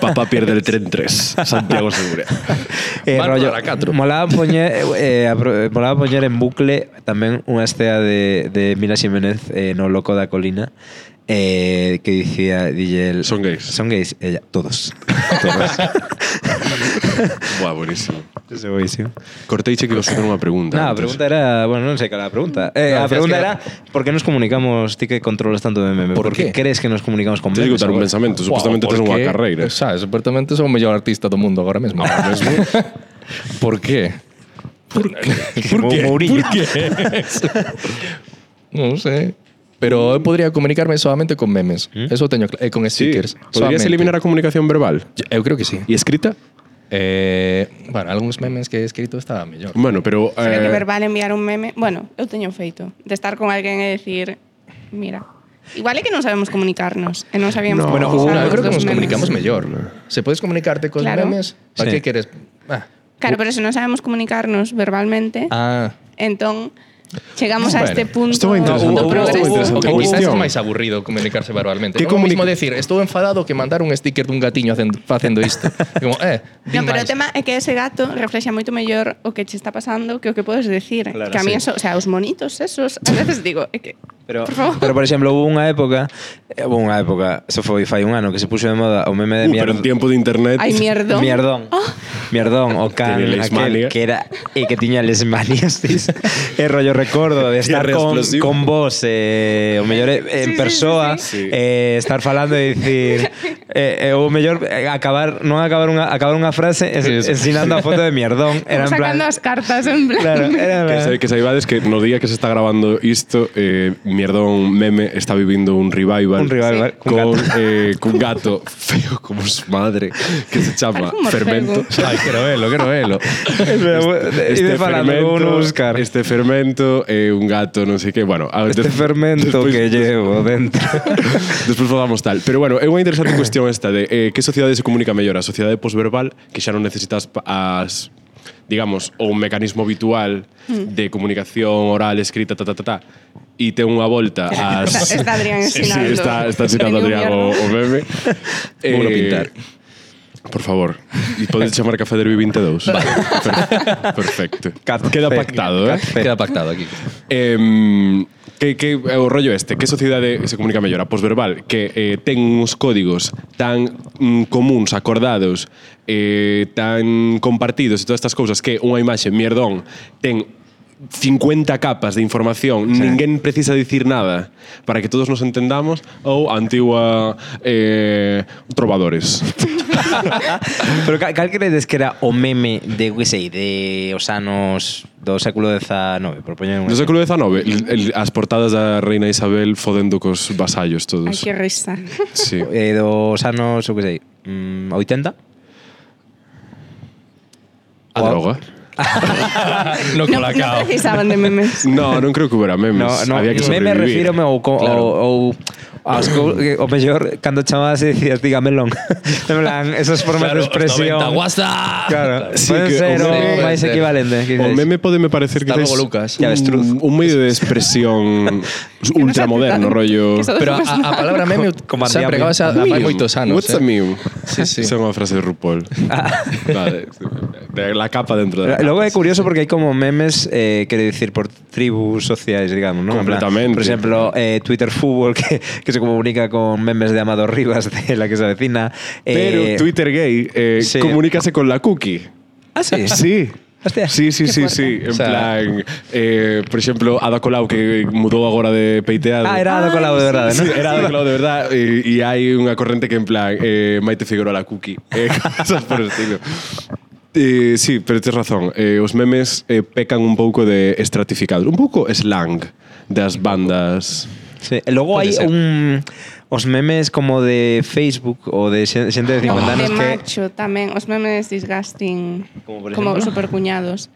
Speaker 3: Papá pierde el tren 3. Santiago Segura.
Speaker 4: Eh,
Speaker 6: Van
Speaker 4: rollo,
Speaker 6: para catro.
Speaker 4: molaba poñer, eh, apro- molaba poñer en bucle tamén unha estea de, de Mila Ximénez eh, no Loco da Colina eh, que dicía dille el,
Speaker 3: Son gays.
Speaker 4: son gays ella, todos todos
Speaker 3: Buah, buenísimo.
Speaker 4: Eso é buenísimo.
Speaker 3: Corteiche que vos facer unha pregunta.
Speaker 4: Nada, a
Speaker 3: antes.
Speaker 4: pregunta era, bueno, non sei cal era a pregunta. Eh,
Speaker 6: No,
Speaker 4: a
Speaker 6: decías
Speaker 4: pregunta
Speaker 6: que
Speaker 4: era,
Speaker 6: era-
Speaker 4: por que nos comunicamos, ti que controlas tanto de meme?
Speaker 6: Por
Speaker 4: que
Speaker 6: qué?
Speaker 4: crees que nos comunicamos con
Speaker 3: Tens que
Speaker 4: memes?
Speaker 3: contar un
Speaker 4: agora?
Speaker 3: pensamento.
Speaker 6: Guau,
Speaker 3: Supostamente tes unha
Speaker 6: porque,
Speaker 3: carreira.
Speaker 6: Sabes, supuestamente sou o mellor artista do mundo agora mesmo. Agora mesmo. Por qué?
Speaker 4: Mo- Mourinho.
Speaker 6: Non sei. Pero eu podría comunicarme solamente con memes. Eso teño cla- e con
Speaker 3: Sí.
Speaker 6: stickers.
Speaker 3: Poderías
Speaker 6: solamente.
Speaker 3: eliminar a comunicación verbal?
Speaker 6: Yo- Eu creo que sí.
Speaker 3: E escrita?
Speaker 6: Eh, bueno, algúns memes que he escrito estaban mellor.
Speaker 3: Bueno, pero...
Speaker 2: Pero que
Speaker 3: eh,
Speaker 2: verbal enviar un meme. Bueno, eu teño feito de estar con alguén e decir, mira, igual é que non sabemos comunicarnos e non sabíamos
Speaker 3: No.
Speaker 2: como
Speaker 3: Bueno,
Speaker 2: usar
Speaker 6: Claro, eu creo que
Speaker 2: os
Speaker 6: nos
Speaker 2: memes.
Speaker 6: comunicamos mellor. Se podes comunicarte cos
Speaker 2: Claro.
Speaker 6: memes, para
Speaker 4: Sí.
Speaker 6: que queres? Ah.
Speaker 2: Claro, pero se non sabemos comunicarnos verbalmente,
Speaker 6: ah.
Speaker 2: entón chegamos a
Speaker 6: Bueno,
Speaker 2: este punto.
Speaker 3: esto é interesante,
Speaker 2: do
Speaker 3: pero esto é
Speaker 2: progreso.
Speaker 3: interesante.
Speaker 6: o que quizás
Speaker 3: cuestión.
Speaker 6: es máis aburrido comunicarse verbalmente.
Speaker 3: Que
Speaker 6: Non é o
Speaker 3: comuni-
Speaker 6: mismo decir, estou enfadado que mandar un sticker dun gatiño facendo, facendo isto. E como, eh,
Speaker 2: No,
Speaker 6: din
Speaker 2: pero o
Speaker 6: máis.
Speaker 2: tema é que ese gato reflexa moito mellor o que che está pasando que o que podes decir. Claro, que a mí sí. eso, o sea, os monitos esos, a veces digo, é que
Speaker 4: Pero,
Speaker 2: Por favor.
Speaker 4: pero, por exemplo, hubo unha época, eh, hubo unha época, eso foi fai un ano, que se puxo de moda o meme de
Speaker 3: Uh, pero en tiempo de internet...
Speaker 2: hai mierdo.
Speaker 4: Mierdón.
Speaker 2: Ah.
Speaker 4: Mierdón, o can,
Speaker 3: Tiene lesmania.
Speaker 4: aquel que era e que tiña lesmanias. tis. e rollo recordo de estar
Speaker 3: Cierre
Speaker 4: con,
Speaker 3: explosivo.
Speaker 4: con vos, eh, o mellor eh,
Speaker 2: Sí, sí,
Speaker 4: en persoa,
Speaker 3: sí, sí.
Speaker 4: eh, estar falando e dicir, eh, eh, o mellor eh, acabar, non acabar unha, acabar unha frase ens,
Speaker 6: Sí, sí.
Speaker 4: ensinando a foto de mierdón. Era en plan,
Speaker 2: sacando as cartas en plan.
Speaker 4: claro, era en
Speaker 3: Que, sa-
Speaker 4: plan,
Speaker 3: que saibades que no día que se está grabando isto, eh, Mierdón Meme está vivindo un revival.
Speaker 4: un rival
Speaker 3: Con,
Speaker 4: con gato.
Speaker 3: eh, cun gato feo como su madre, que se chama
Speaker 2: Parece un
Speaker 3: Fermento.
Speaker 6: Ai, quero velo, quero velo.
Speaker 4: Este, este falando con un Óscar.
Speaker 3: este fermento é un gato, non sei que, bueno, a ver,
Speaker 4: Este
Speaker 3: des-
Speaker 4: fermento
Speaker 3: despois-
Speaker 4: que llevo dentro.
Speaker 3: Despois falamos tal. Pero bueno, é unha interesante cuestión esta de eh, que sociedade se comunica mellor, a sociedade posverbal, que xa non necesitas pa- as
Speaker 2: Mm.
Speaker 3: digamos, o un mecanismo habitual de comunicación oral, escrita, ta, ta, ta, ta, e ten unha volta ás...
Speaker 2: Está- está Adrián ensinando.
Speaker 3: Sí, está, está ensinando
Speaker 2: Premio
Speaker 3: Adrián o, o meme. Eh,
Speaker 6: Vouno pintar.
Speaker 3: Por favor, e podes chamar Café Derby 22. Vale. Perfecto. Queda pactado, eh?
Speaker 6: Queda pactado aquí.
Speaker 3: Em, que, que é o rollo este? Que sociedade se comunica mellor? A posverbal que eh, ten uns códigos tan mm, comuns, acordados, eh, tan compartidos e todas estas cousas que unha imaxe mierdón ten 50 capas de información, ninguén precisa dicir nada para que todos nos entendamos ou a antigua eh, trovadores.
Speaker 4: Pero cal, cal credes que era o meme de, que sei, de os anos do século XIX, por poñer un
Speaker 3: No
Speaker 4: exemplo?
Speaker 3: século XIX, el- el- as portadas da reina Isabel fodendo cos vasallos
Speaker 2: Ai,
Speaker 3: todos.
Speaker 2: que risa.
Speaker 3: Sí.
Speaker 4: Eh, dos anos, o que sei, mm, 80?
Speaker 3: A
Speaker 4: Wow.
Speaker 3: droga.
Speaker 6: No
Speaker 2: Non, non
Speaker 6: colacao.
Speaker 2: precisaban de memes.
Speaker 3: No, non creo que hubiera memes.
Speaker 4: No, no,
Speaker 3: Había que
Speaker 4: meme
Speaker 3: sobrevivir.
Speaker 4: refírome ao, co-
Speaker 6: Claro.
Speaker 4: ao, ao aos co- que, o mellor cando chamabas e dicías dígame long. en plan, esas formas
Speaker 6: Claro,
Speaker 4: de
Speaker 6: os 90,
Speaker 4: expresión.
Speaker 6: guasta.
Speaker 4: Claro,
Speaker 3: Sí,
Speaker 4: poden
Speaker 3: que
Speaker 4: ser
Speaker 3: o
Speaker 4: o
Speaker 6: meme-
Speaker 4: máis equivalente. que
Speaker 3: O
Speaker 4: dices.
Speaker 3: meme pode me parecer que
Speaker 6: Hasta
Speaker 3: es
Speaker 6: luego, Lucas.
Speaker 4: Ya ves, truz.
Speaker 3: un, un medio de expresión ultramoderno, rollo...
Speaker 2: Que só-
Speaker 6: Pero a, a a palabra meme
Speaker 4: Como
Speaker 6: xa
Speaker 4: Adrián
Speaker 6: pregaba xa
Speaker 4: Meme.
Speaker 6: vai moitos anos.
Speaker 3: What's a meme?
Speaker 6: ¿eh? Sí, sí.
Speaker 3: Esa é unha frase de RuPaul.
Speaker 4: Ah.
Speaker 3: vale. De la capa dentro da
Speaker 4: Pero
Speaker 3: capa.
Speaker 4: Luego é curioso porque hai como memes, eh, quero dicir, por tribus sociais, digamos, ¿no? En plan,
Speaker 3: Completamente.
Speaker 4: Por exemplo, eh, Twitter Fútbol, que, que se comunica con memes de Amado Rivas, de la que se avecina.
Speaker 3: Pero
Speaker 4: eh,
Speaker 3: Twitter gay eh,
Speaker 4: sí.
Speaker 3: comunícase con la cookie.
Speaker 4: Ah, sí.
Speaker 3: Eh, Sí.
Speaker 4: Hostia.
Speaker 3: Sí, sí, sí, sí. En
Speaker 6: O sea-
Speaker 3: plan, eh, por exemplo, Ada Colau que mudou agora de peiteado.
Speaker 4: Ah, era Ada Colau, de verdade,
Speaker 3: Sí,
Speaker 4: ¿no?
Speaker 3: era Ada Colau de verdad e, e hai unha corrente que en plan eh, Maite Figueroa la cookie eh, cosas por el estilo eh, sí, pero tens razón eh, os memes eh, pecan un pouco de estratificados un pouco slang das bandas
Speaker 4: Sí. E Logo
Speaker 6: Pode
Speaker 4: hai
Speaker 6: ser.
Speaker 4: un os memes como de Facebook ou de xe- xente de 50
Speaker 2: Oh, de
Speaker 4: anos que
Speaker 2: macho tamén, os memes disgusting
Speaker 4: Como por
Speaker 2: como
Speaker 4: exemplo?
Speaker 2: supercuñados.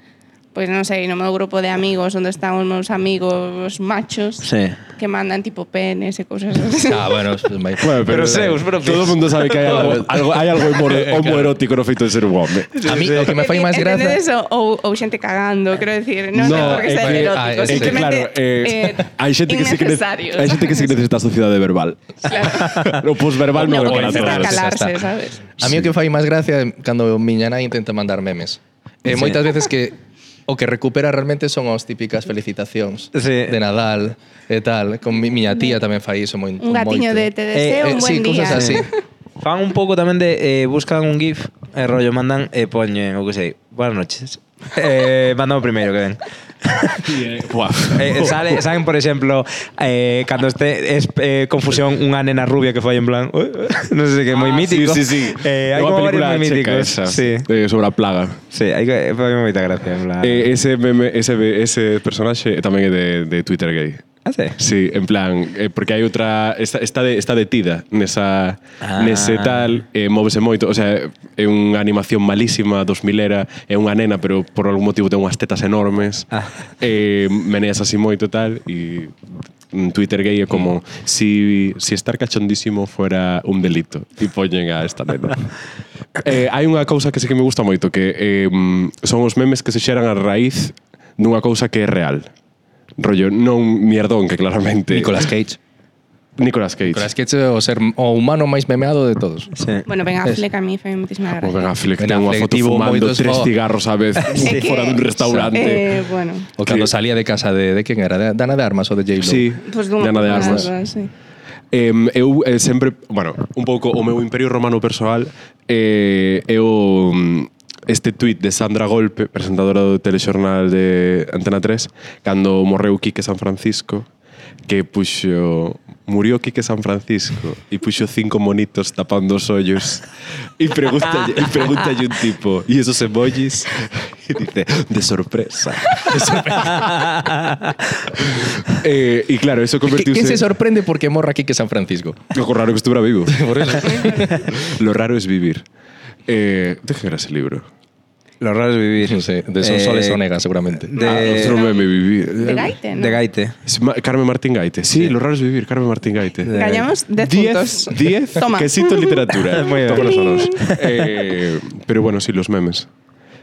Speaker 2: Pois non sei, no meu grupo de amigos onde están os meus amigos machos
Speaker 4: Sí.
Speaker 2: que mandan tipo penes e cousas así.
Speaker 6: Ah, bueno, pues, vai.
Speaker 3: pero,
Speaker 4: seus propios.
Speaker 3: todo o mundo sabe que hai algo, algo, hai algo
Speaker 4: Eh,
Speaker 3: homo- homoerótico no feito de ser un home
Speaker 6: a mí o que me fai máis graza
Speaker 2: Entendedes? ou, ou xente cagando, quero dicir, non
Speaker 3: No,
Speaker 2: é porque
Speaker 3: é
Speaker 2: sea
Speaker 3: que-
Speaker 6: ah,
Speaker 2: erótico,
Speaker 6: é que,
Speaker 2: simplemente
Speaker 3: claro, eh, hai xente que sí que, nece-
Speaker 2: innecesarios.
Speaker 3: hai xente que sí que necesita a sociedade verbal.
Speaker 2: Claro.
Speaker 3: O posverbal non
Speaker 2: No, porque
Speaker 3: é para
Speaker 2: necesita
Speaker 3: todos.
Speaker 2: calarse,
Speaker 6: Está.
Speaker 2: sabes?
Speaker 6: A mí o que fai máis gracia é cando miña nai intenta mandar memes. E moitas veces que o que recupera realmente son as típicas felicitacións
Speaker 4: Sí.
Speaker 6: de Nadal e tal. Con mi, miña tía tamén fai iso moi,
Speaker 2: Un gatiño de
Speaker 6: moito.
Speaker 2: te deseo
Speaker 6: Eh,
Speaker 2: un
Speaker 6: sí,
Speaker 2: buen día.
Speaker 6: cosas así.
Speaker 4: Fan un pouco tamén de eh, buscan un gif, eh, rollo mandan e eh, poñen, o que sei, buenas noches. eh, mandan o primeiro que ven.
Speaker 3: Buah.
Speaker 4: Eh, sale, saben, por exemplo, eh, cando este es eh, confusión unha nena rubia que foi en plan, "Ué, ué", non sei que é moi
Speaker 3: Ah,
Speaker 4: mítico.
Speaker 3: Sí, sí, sí.
Speaker 4: Eh, hai
Speaker 3: Unha
Speaker 4: como varios
Speaker 3: película
Speaker 4: moi
Speaker 3: checa
Speaker 4: míticos.
Speaker 3: esa,
Speaker 4: Sí.
Speaker 3: eh, sobre a plaga.
Speaker 4: Sí, hai que foi moita gracia, en plan.
Speaker 3: Eh, ese, meme, ese, ese personaxe tamén é de, de Twitter gay.
Speaker 4: ah, sí.
Speaker 3: Sí, en plan, eh, porque hai outra está, está, de, está detida nesa
Speaker 4: Ah.
Speaker 3: nese tal, eh, móvese moito, o sea, é unha animación malísima dos milera, é unha nena, pero por algún motivo ten unhas tetas enormes.
Speaker 4: Ah.
Speaker 3: Eh, meneas así moito tal e mm, Twitter gay é como si, si estar cachondísimo fuera un delito e poñen a esta nena. eh, hai unha cousa que sí que me gusta moito que eh, mm, son os memes que se xeran a raíz dunha cousa que é real. Rollo, non mierdón que claramente
Speaker 6: Nicolas Cage.
Speaker 3: Nicolas Cage.
Speaker 6: Nicolas Cage é o ser o humano máis memeado de todos.
Speaker 4: sí.
Speaker 2: Bueno, Ben
Speaker 6: Es-
Speaker 2: Affleck a mí foi muitísima gracia.
Speaker 3: O Ben Affleck
Speaker 6: Ben
Speaker 3: ten unha
Speaker 6: Affleck
Speaker 3: foto
Speaker 6: tivo
Speaker 3: fumando
Speaker 6: moitos
Speaker 3: tres
Speaker 6: fo-
Speaker 3: cigarros á vez
Speaker 2: que-
Speaker 3: fora dun
Speaker 2: Eh,
Speaker 3: restaurante.
Speaker 2: bueno,
Speaker 6: O cando
Speaker 3: Que-
Speaker 6: salía de casa de, de quen era? De, Dana de Armas ou de J-Lo?
Speaker 3: Sí,
Speaker 2: pues como...
Speaker 3: Dana de Armas.
Speaker 2: Sí.
Speaker 3: Em, eu eh, sempre, bueno, un pouco o meu imperio romano persoal eh, é o mm, este tuit de Sandra Golpe, presentadora do telexornal de Antena 3, cando morreu Quique San Francisco, que puxo murió Quique San Francisco e puxo cinco monitos tapando os ollos e preguntalle, e preguntalle un tipo e esos emojis e dice, de sorpresa de sorpresa. eh, e claro, eso
Speaker 6: Que, que
Speaker 3: convertiuse
Speaker 6: se sorprende porque morra aquí que San Francisco.
Speaker 3: Lo raro que estuviera vivo.
Speaker 6: Por eso.
Speaker 3: Lo raro es vivir. Eh, ¿De qué era ese libro?
Speaker 4: Lo raro es vivir.
Speaker 6: non sei, de Sonsoles
Speaker 4: Eh,
Speaker 6: Onega seguramente.
Speaker 4: De,
Speaker 3: ah, otro meme, vivir. Eh,
Speaker 2: De Gaite, ¿no?
Speaker 4: de Gaite.
Speaker 3: Es Ma- Carmen Martín Gaite. Sí, Lo raro es vivir, Carmen Martín Gaite.
Speaker 4: De-
Speaker 2: Gañamos 10 puntos.
Speaker 3: 10,
Speaker 2: Toma.
Speaker 3: quesito literatura.
Speaker 4: Muy bien.
Speaker 3: Toma los honores. Eh, pero bueno, sí, los memes.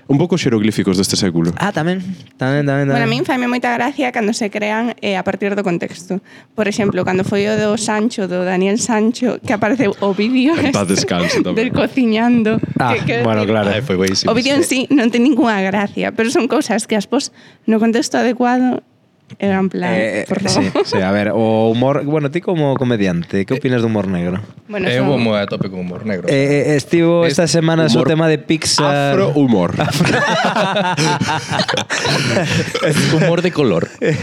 Speaker 3: Un pouco xeroglíficos deste século.
Speaker 4: Ah, tamén. Tamén, tamén, tamén.
Speaker 2: Bueno, a min faime moita gracia cando se crean eh, a partir do contexto. Por exemplo, cando foi o do Sancho, do Daniel Sancho, que apareceu o vídeo
Speaker 3: En paz descanse tamén.
Speaker 2: del cociñando.
Speaker 4: Ah,
Speaker 2: que, que,
Speaker 4: bueno, claro.
Speaker 6: Ah, foi
Speaker 2: o
Speaker 6: buenísimo.
Speaker 2: vídeo en sí non ten ninguna gracia, pero son cousas que as pos no contexto adecuado eran plan,
Speaker 4: Eh,
Speaker 2: por favor.
Speaker 4: sí, sí, a ver, o humor, bueno, ti como comediante, que opinas do humor negro?
Speaker 2: Bueno,
Speaker 3: Eh,
Speaker 6: É
Speaker 2: son-
Speaker 6: un humor a tope con humor negro.
Speaker 4: Eh, eh, estivo
Speaker 6: Es
Speaker 4: esta semana o
Speaker 3: humor
Speaker 4: tema de Pixar.
Speaker 3: Afro humor.
Speaker 6: humor de color.
Speaker 4: eh,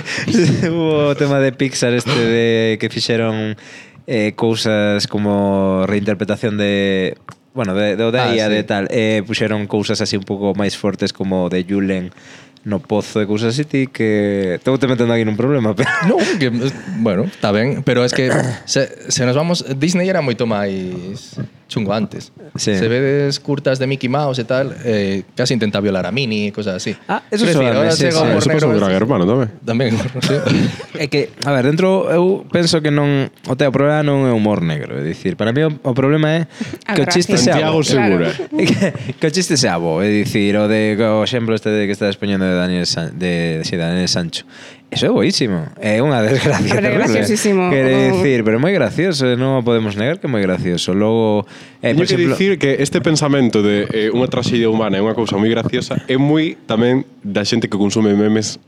Speaker 4: Hubo o tema de Pixar este de que fixeron eh, cousas como reinterpretación de bueno, de, do da
Speaker 6: Ah,
Speaker 4: IA
Speaker 6: sí.
Speaker 4: de tal, eh, puxeron cousas así un pouco máis fortes como de Julen no pozo e cousas así ti que estou te metendo aquí nun problema, pero
Speaker 6: No, que, bueno, está ben, pero es que se, se nos vamos... Disney era moito máis chungo antes.
Speaker 4: Sí.
Speaker 6: Se vedes curtas de Mickey Mouse e tal, eh, casi intenta violar a Minnie e cosas así.
Speaker 4: Ah, eso
Speaker 6: Quiero decir,
Speaker 4: soame,
Speaker 6: ahora
Speaker 4: sí,
Speaker 6: chega
Speaker 4: sí.
Speaker 6: o humor
Speaker 3: Eso pasa un
Speaker 6: negro,
Speaker 3: gran hermano tamén.
Speaker 6: Tamén, sí.
Speaker 4: É que, a ver, dentro eu penso que non o teu problema non é humor negro, é dicir, para mí o, o problema é
Speaker 2: A
Speaker 4: que o
Speaker 2: gracia.
Speaker 4: chiste sea
Speaker 3: Santiago
Speaker 4: bo.
Speaker 3: Segura.
Speaker 4: que, que o chiste sea bo, é dicir, o de o exemplo este de que estás poñendo de Daniel San, de, de, si, Daniel Sancho. Eso é boísimo. É unha desgracia.
Speaker 2: Pero é
Speaker 4: terrible.
Speaker 2: graciosísimo.
Speaker 4: Quere
Speaker 2: O-
Speaker 4: dicir, pero é moi gracioso, eh, non o podemos negar que é moi gracioso. Logo, eh,
Speaker 3: Teño
Speaker 4: por
Speaker 3: que
Speaker 4: exemplo,
Speaker 3: dicir que este pensamento de eh, unha traxedia humana é unha cousa moi graciosa é moi tamén da xente que consume memes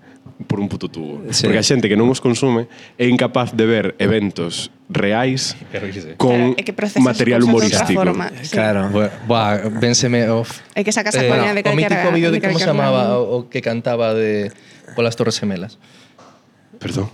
Speaker 3: por un puto tubo.
Speaker 4: Sí.
Speaker 3: Porque a xente que non os consume é incapaz de ver eventos reais
Speaker 2: Claro,
Speaker 3: con
Speaker 2: é que procesas
Speaker 3: material
Speaker 2: cousas de outra
Speaker 3: humorístico.
Speaker 2: forma, sí.
Speaker 4: Claro.
Speaker 6: Bueno, buah, vénseme Eh, off.
Speaker 2: É que sacas a coña de
Speaker 6: o
Speaker 2: calquera-
Speaker 6: mítico vídeo
Speaker 2: de
Speaker 6: de como se
Speaker 2: calquera
Speaker 6: llamaba
Speaker 2: lado.
Speaker 6: o, o que cantaba de polas Torres Gemelas.
Speaker 3: Perdón.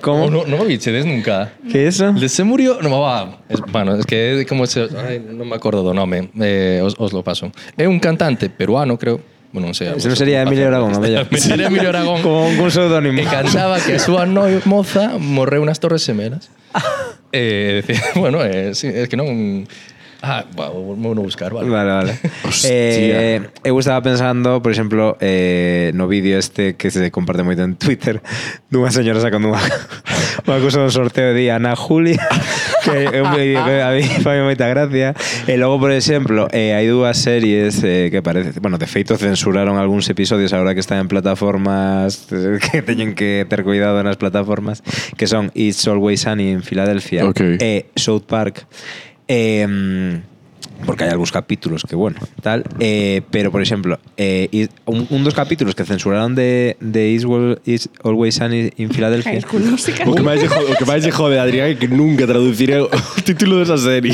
Speaker 4: Como?
Speaker 6: O No, no me bichedes nunca.
Speaker 4: Que eso?
Speaker 6: El de se murió, no va. Es, bueno, es que como se, ai, non me acordo do nome, eh, os, os lo paso. É un cantante peruano, creo. Bueno, non sei.
Speaker 4: Se non sería Emilio Aragón, a mellor.
Speaker 6: Sería Emilio Aragón.
Speaker 4: Como un pseudónimo.
Speaker 6: que cantaba que a súa noi moza morreu nas Torres Gemelas. eh, decía, bueno, eh, sí, es que non... Ah, va, vou vou no buscar, vale.
Speaker 4: Vale, vale.
Speaker 3: Hostia.
Speaker 4: Eh, eu estaba pensando, por exemplo, eh, no vídeo este que se comparte moito en Twitter dunha señora sacando unha, unha cousa do sorteo de Ana Julia que é un vídeo que a mí fai moita gracia e logo, por exemplo, eh, hai dúas series eh, que parece, bueno, de feito censuraron algúns episodios agora que están en plataformas eh, que teñen que ter cuidado nas plataformas que son It's Always Sunny en Filadelfia
Speaker 3: Ok.
Speaker 4: e South Park eh, porque hai algúns capítulos que, bueno, tal. Eh, pero, por exemplo, eh, is- un, un dos capítulos que censuraron de, de Is, Wal- Is Always Sunny in Philadelphia.
Speaker 2: High School Musical.
Speaker 3: O que máis lle jode, o que máis lle jode a Adrián é que nunca traduciré o título desa serie.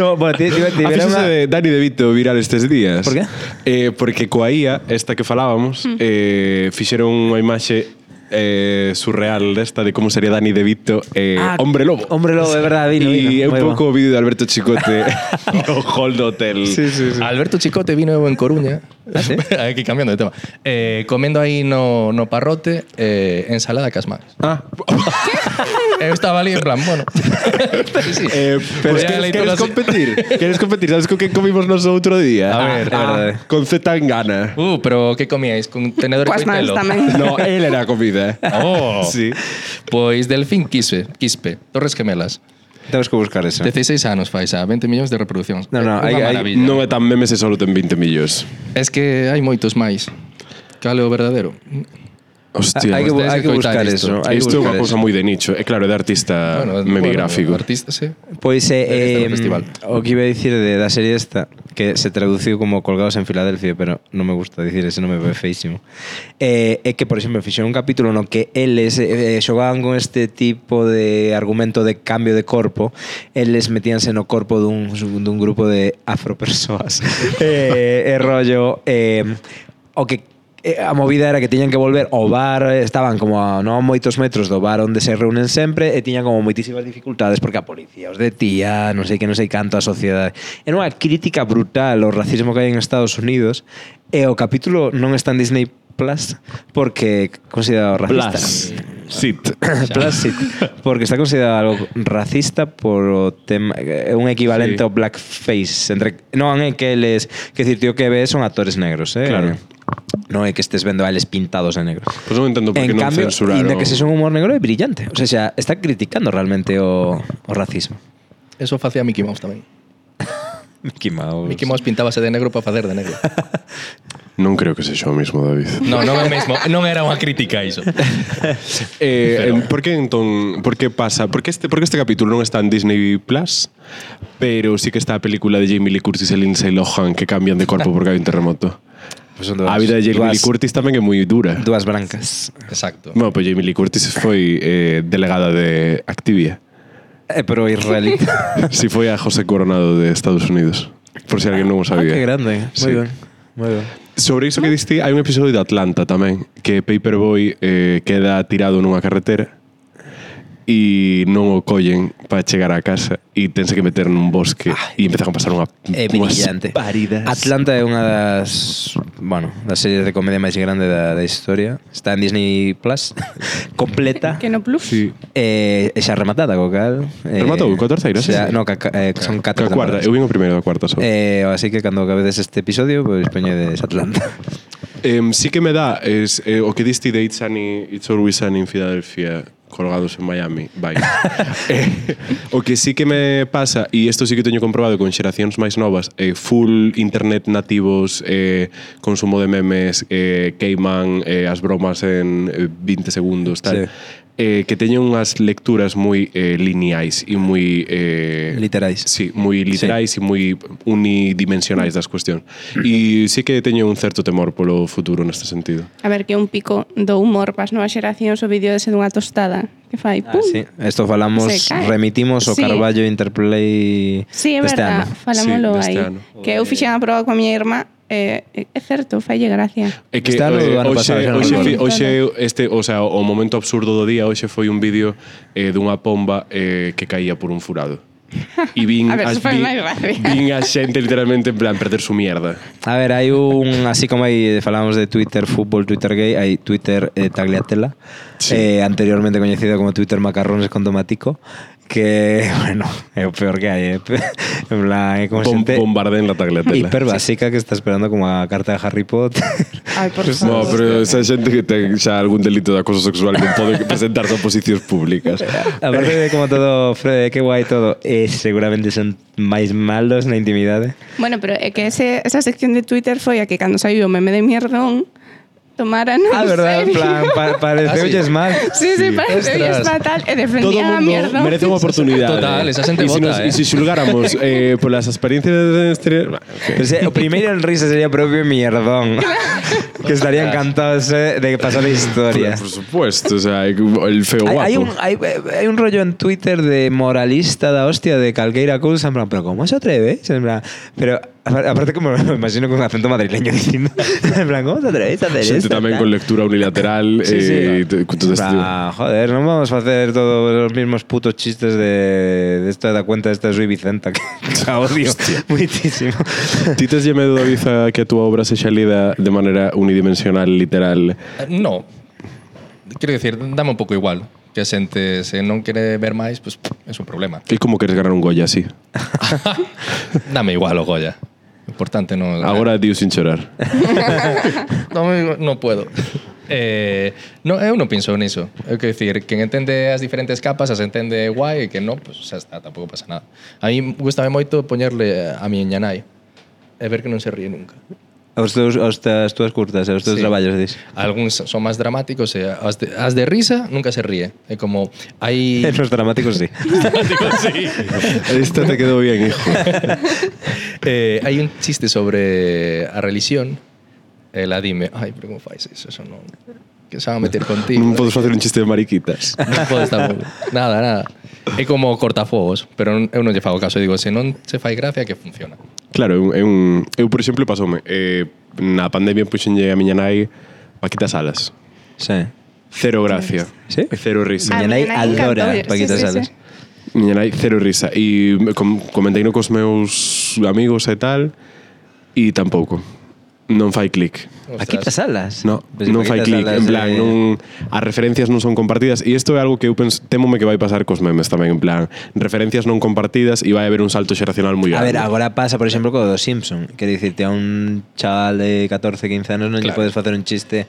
Speaker 4: no, bueno, ti, ti,
Speaker 3: Afíxose
Speaker 4: ti, verá
Speaker 3: una... Ah,
Speaker 4: unha-
Speaker 3: de Dani De Vito viral estes días.
Speaker 4: Por qué?
Speaker 3: Eh, porque coa IA, esta que falábamos, mm. eh, fixeron unha imaxe eh, surreal desta de como sería Dani De Vito eh, ah,
Speaker 4: Ah,
Speaker 3: hombre lobo.
Speaker 4: Hombre lobo, é verdade, vino,
Speaker 3: E é
Speaker 4: vino,
Speaker 3: un
Speaker 4: moi bo.
Speaker 3: pouco o vídeo de Alberto Chicote no hall do hotel.
Speaker 4: Sí, sí, sí.
Speaker 6: Alberto Chicote vino en Coruña.
Speaker 3: ¿Ah,
Speaker 6: Aquí cambiando de tema. Eh, comiendo ahí no, no parrote, eh, ensalada casmares.
Speaker 3: Ah,
Speaker 6: Eu estaba ali en plan, bueno. sí.
Speaker 3: eh, pero
Speaker 6: Voy
Speaker 3: es
Speaker 6: a
Speaker 3: que,
Speaker 6: leer
Speaker 3: queres
Speaker 6: todas-
Speaker 3: competir? queres competir? Sabes con que comimos nos outro día? Ah,
Speaker 6: A ver, é
Speaker 4: verdade.
Speaker 3: con Z tan gana.
Speaker 6: Uh, pero que comíais? Con tenedor
Speaker 2: Coas
Speaker 6: e
Speaker 2: mans
Speaker 6: coitelo?
Speaker 2: tamén.
Speaker 3: No, él era a comida. ¿eh?
Speaker 6: Oh.
Speaker 3: Sí.
Speaker 6: Pois Delfín Quispe, Quispe, Torres Gemelas.
Speaker 4: Temos que buscar eso.
Speaker 6: 16 anos fai xa, 20 millóns de reproduccións.
Speaker 4: No, no,
Speaker 6: É unha
Speaker 4: hai- hai-
Speaker 6: maravilla.
Speaker 3: Non é tan meme se solo ten 20
Speaker 4: Ah,
Speaker 3: millóns.
Speaker 6: Es que hai moitos máis. Cal é o verdadeiro?
Speaker 3: Hostia.
Speaker 4: hai que, bu-
Speaker 6: ustedes
Speaker 4: hai que
Speaker 6: que coitar
Speaker 4: buscar
Speaker 6: isto.
Speaker 4: eso. hai que
Speaker 3: Isto é unha
Speaker 4: buscar
Speaker 3: cousa
Speaker 4: eso.
Speaker 3: moi de nicho. É claro, é de
Speaker 4: Ah,
Speaker 3: artista bueno, memigráfico.
Speaker 6: Bueno, artista, sí.
Speaker 4: Pois
Speaker 6: Debe estar
Speaker 4: é eh,
Speaker 6: no festival.
Speaker 4: o que iba a dicir de, da serie esta que se traduciu como Colgados en Filadelfia, pero non me gusta dicir ese nome, é feísimo. Eh, é que, por exemplo, fixeron un capítulo no que eles eh, xogaban con este tipo de argumento de cambio de corpo, eles metíanse no corpo dun, dun grupo de afropersoas. eh, e rollo eh, o que eh, a movida era que tiñan que volver ao bar, eh, estaban como a non moitos metros do bar onde se reúnen sempre e tiñan como moitísimas dificultades porque a policía os detía, non sei que non sei canto a sociedade. Era unha crítica brutal ao racismo que hai en Estados Unidos e o capítulo non está en Disney Plus porque considerado racista.
Speaker 3: Plus. Sit. Pues
Speaker 4: Plus, sí, porque está considerado algo racista por o tema é un equivalente
Speaker 3: Sí.
Speaker 4: ao blackface entre non é que eles que decir tío que ves son actores negros, eh.
Speaker 3: Claro.
Speaker 4: Non é que estes vendo a eles pintados de negro.
Speaker 3: Pois non entendo por que
Speaker 4: en
Speaker 3: non
Speaker 4: cambio,
Speaker 3: censuraron.
Speaker 4: inda que se son humor negro é brillante. O sea, xa está criticando realmente o, o racismo.
Speaker 6: Eso facía Mickey Mouse tamén.
Speaker 4: Mickey Mouse.
Speaker 6: Mickey Mouse pintábase de negro para facer de negro.
Speaker 3: Non creo que sexa o mismo, David.
Speaker 6: No, non é o mesmo, non era unha crítica iso.
Speaker 3: Eh, Pero... por que entón, por que pasa? Por que este, por que este capítulo non está en Disney Plus? Pero sí que está a película de Jamie Lee Curtis e Lindsay Lohan que cambian de corpo porque hai un terremoto.
Speaker 4: Pues son
Speaker 3: A vida de Jamie Lee
Speaker 4: dúas,
Speaker 3: Curtis tamén é moi dura.
Speaker 4: dúas brancas.
Speaker 6: Exacto.
Speaker 3: Bueno, pois Jamie Lee Curtis foi eh, delegada de Activia.
Speaker 4: Eh, pero israelita.
Speaker 3: Si foi a José Coronado de Estados Unidos. Por si alguén non o
Speaker 4: ah,
Speaker 3: sabía.
Speaker 4: qué grande.
Speaker 3: Sí.
Speaker 4: Muy bien. Muy bien.
Speaker 3: Sobre iso que diste, hai un episodio de Atlanta tamén, que Paperboy eh, queda tirado nunha carretera e non o collen para chegar á casa e tense que meter nun bosque e empezan a pasar unha unhas
Speaker 4: É Eh, brillante.
Speaker 3: paridas.
Speaker 4: Atlanta é unha das, bueno, das series de comedia máis grande da, da historia. Está en Disney Plus, completa.
Speaker 2: Que no plus.
Speaker 3: Sí.
Speaker 4: Eh, e xa rematada, co cal. Eh,
Speaker 3: Rematou, coa terceira, sí.
Speaker 4: xa, no, ca, ca, eh,
Speaker 3: A
Speaker 4: son catro
Speaker 3: cuarta,
Speaker 4: temporadas.
Speaker 3: eu vin o primeiro da cuarta só. Eh,
Speaker 4: Eh, así que cando acabedes este episodio, pois pues, peñedes Atlanta.
Speaker 3: sí que me dá es, eh, o que diste de It's, Sunny, It's Always Sunny in Philadelphia colgados en Miami, vai. eh, o que sí que me pasa, e isto sí que teño comprobado con xeracións máis novas, eh, full internet nativos, eh, consumo de memes, eh, queiman eh, as bromas en eh, 20 segundos, tal.
Speaker 4: Sí.
Speaker 3: Sí. Eh, que teñen unhas lecturas moi eh, lineais e moi... Eh,
Speaker 4: Literais.
Speaker 3: Sí, moi literais sí. e moi unidimensionais das cuestións. E sí que teño un certo temor polo futuro neste sentido.
Speaker 2: A ver, que é un pico do humor para as novas xeracións o vídeo ese dunha tostada que fai
Speaker 4: Ah,
Speaker 2: pum.
Speaker 4: sí. Esto falamos,
Speaker 2: Se cae.
Speaker 4: remitimos o
Speaker 2: Sí.
Speaker 4: Carballo Interplay
Speaker 2: Sí, é
Speaker 4: deste
Speaker 2: verdad,
Speaker 4: ano.
Speaker 2: falámoslo
Speaker 3: Sí,
Speaker 2: aí.
Speaker 3: deste ano.
Speaker 2: Que eu fixen a proba coa miña irmá, eh, é certo, falle gracia.
Speaker 3: É que
Speaker 4: Está no
Speaker 3: eh,
Speaker 4: ano pasado,
Speaker 3: hoxe,
Speaker 4: xa non
Speaker 3: hoxe,
Speaker 2: recordo.
Speaker 3: fi- hoxe este, o, sea, o momento absurdo do día hoxe foi un vídeo eh, dunha pomba eh, que caía por un furado. E vin,
Speaker 2: A ver,
Speaker 3: as-
Speaker 2: eso foi
Speaker 3: vin-
Speaker 2: máis gracia.
Speaker 3: vin a xente literalmente en plan perder su mierda.
Speaker 4: A ver, hai un, así como aí falábamos de Twitter fútbol, Twitter gay, hai Twitter eh, tagliatela,
Speaker 3: Sí.
Speaker 4: eh, anteriormente coñecido como Twitter macarrones con tomatico, que, bueno, é o peor que hai, eh. en plan, é como
Speaker 3: Bom,
Speaker 4: xente
Speaker 3: bombarden la tagliatella.
Speaker 4: hiperbásica que está esperando como a carta de Harry Potter.
Speaker 2: Ai, por
Speaker 3: No,
Speaker 2: favor.
Speaker 3: pero esa xente que ten xa algún delito de acoso sexual que pode presentarse a posicións públicas.
Speaker 4: Aparte de como todo, Fred, que guai todo, eh, seguramente son máis malos na intimidade.
Speaker 2: Bueno, pero é que ese, esa sección de Twitter foi a que cando saiu o meme de mierdón, tomaran en
Speaker 4: Ah, verdad, en
Speaker 2: serio.
Speaker 4: plan, pa pareceu
Speaker 6: Ah, sí.
Speaker 4: mal.
Speaker 2: Sí, sí,
Speaker 3: Sí.
Speaker 2: parece que es
Speaker 6: Ostras.
Speaker 2: fatal e
Speaker 3: Todo
Speaker 2: defendían a
Speaker 3: mundo
Speaker 2: mierdón.
Speaker 3: merece unha oportunidade.
Speaker 6: Total, esa xente
Speaker 3: E se,
Speaker 6: vota,
Speaker 3: nos,
Speaker 6: eh.
Speaker 3: e se xulgáramos eh, polas experiencias de exterior... pues,
Speaker 4: Pero se, o primeiro en risa sería propio mierdón. que estaría encantado ese de que pasara a historia.
Speaker 3: Por, por supuesto, o sea, el feo
Speaker 4: Hay,
Speaker 3: guapo.
Speaker 4: hay un, hay, hay un rollo en Twitter de moralista da hostia de Calgueira Cousa, en plan, pero ¿cómo se atreve? En plan, pero apar- aparte como me imagino con un acento madrileño diciendo, en plan, ¿cómo se atreve a hacer
Speaker 3: Xente
Speaker 4: esto?
Speaker 3: tamén
Speaker 4: tal?
Speaker 3: con lectura unilateral
Speaker 4: este, ¿eh? Sí, sí.
Speaker 3: eh, e te- con todo este tipo.
Speaker 4: Ah, joder, no vamos a hacer todos los mismos putos chistes de, de esto de la cuenta de esta Sui Vicenta, que la odio muchísimo.
Speaker 3: Ti tes lle medo, David, a que a túa obra sexa lida de maneira unidimensional, literal.
Speaker 6: Eh, No. Quero dicir, dame un pouco igual. Que a xente se non quere ver máis, pois pues, é un problema.
Speaker 3: Que como queres ganar un Goya así?
Speaker 6: Dame igual o Goya. O Importante non...
Speaker 3: Agora diu sin chorar.
Speaker 6: No, amigo, no puedo. Eh, no, eu non pinso niso. Eu quero dicir, quen entende as diferentes capas as entende guai e que non, pues, xa está, tampouco pasa nada. A mí gustame moito poñerle a miña nai e ver que non se ríe nunca.
Speaker 4: Os teus, os teus, túas curtas, eh, os teus
Speaker 6: Sí.
Speaker 4: traballos, dis.
Speaker 6: Algúns son máis dramáticos e as de, as de risa nunca se ríe. É como,
Speaker 3: Eh,
Speaker 6: hai...
Speaker 4: Los dramáticos sí.
Speaker 3: Esta te quedou bien, hijo.
Speaker 6: Eh, hai un chiste sobre a religión. Ela dime, ai, pero como fais eso? Eso non... Que se van a meter contigo.
Speaker 3: non podes facer un chiste de mariquitas.
Speaker 6: Non podes tampouco. Nada, nada. É como cortafuegos, pero non- eu non lle fago caso. Digo, se non se fai gracia, que funciona.
Speaker 3: Claro, é un, é un, eu, por exemplo, pasoume. Eh, na pandemia puxenlle a miña nai Paquita Salas.
Speaker 4: Sí.
Speaker 3: Cero gracia.
Speaker 4: Sí?
Speaker 3: Cero risa.
Speaker 2: Ah,
Speaker 4: Miña nai
Speaker 2: miña nai
Speaker 4: adora
Speaker 2: encantou,
Speaker 4: Paquita
Speaker 2: sí, sí,
Speaker 4: Salas.
Speaker 2: sí.
Speaker 3: Miña nai, cero risa. E com, comentei no cos meus amigos e tal, e tampouco. non fai clic.
Speaker 4: Aquí
Speaker 6: Ostras.
Speaker 4: das alas.
Speaker 3: No,
Speaker 6: Pues
Speaker 4: Pois
Speaker 3: non
Speaker 4: aquí
Speaker 3: fai
Speaker 4: das
Speaker 3: clic,
Speaker 4: alas,
Speaker 3: en plan,
Speaker 4: eh,
Speaker 3: non, as referencias non son compartidas e isto é algo que eu penso, temome que vai pasar cos memes tamén, en plan, referencias non compartidas e vai haber un salto xeracional moi
Speaker 4: A
Speaker 3: grande.
Speaker 4: ver, agora pasa, por exemplo, co dos Simpson. Quero dicirte, a un chaval de 14, 15 anos non lle
Speaker 6: Claro.
Speaker 4: podes facer un chiste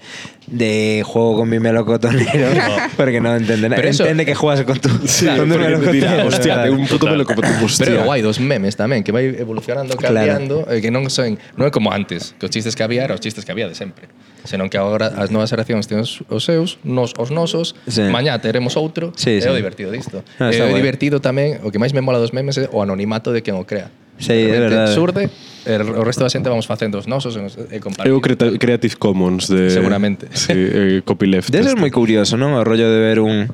Speaker 4: de juego con mi melocotonero porque non entende nada.
Speaker 6: Pero eso-
Speaker 4: Entende que juegas con tu
Speaker 3: Sí,
Speaker 4: con tu
Speaker 3: porque dirá,
Speaker 4: melocotonero.
Speaker 3: hostia,
Speaker 4: claro.
Speaker 3: ten un puto pelo como hostia.
Speaker 6: Pero é guai dos memes tamén, que vai evolucionando,
Speaker 4: Claro.
Speaker 6: cambiando, claro. eh, que non son, non é como antes, que os chistes que había eran os chistes que había de sempre. Senón que agora as novas xeracións ten os, os seus, nos os nosos,
Speaker 4: Sí.
Speaker 6: sí. mañá teremos outro,
Speaker 4: Sí,
Speaker 6: sí,
Speaker 4: sí.
Speaker 6: é o divertido disto.
Speaker 4: Ah,
Speaker 6: Ah, é
Speaker 4: está
Speaker 6: o
Speaker 4: guai.
Speaker 6: divertido tamén, o que máis me mola dos memes é o anonimato de quen o crea.
Speaker 4: Sí,
Speaker 6: De
Speaker 4: é
Speaker 6: repente
Speaker 4: verdade.
Speaker 6: Surde, e o resto da xente vamos facendo os nosos e nos- e
Speaker 3: É
Speaker 6: compartimos.
Speaker 3: o creta- Creative Commons de...
Speaker 6: Seguramente.
Speaker 3: Sí, eh, copyleft.
Speaker 4: Debe ser
Speaker 3: este.
Speaker 4: moi curioso, non? O rollo de ver un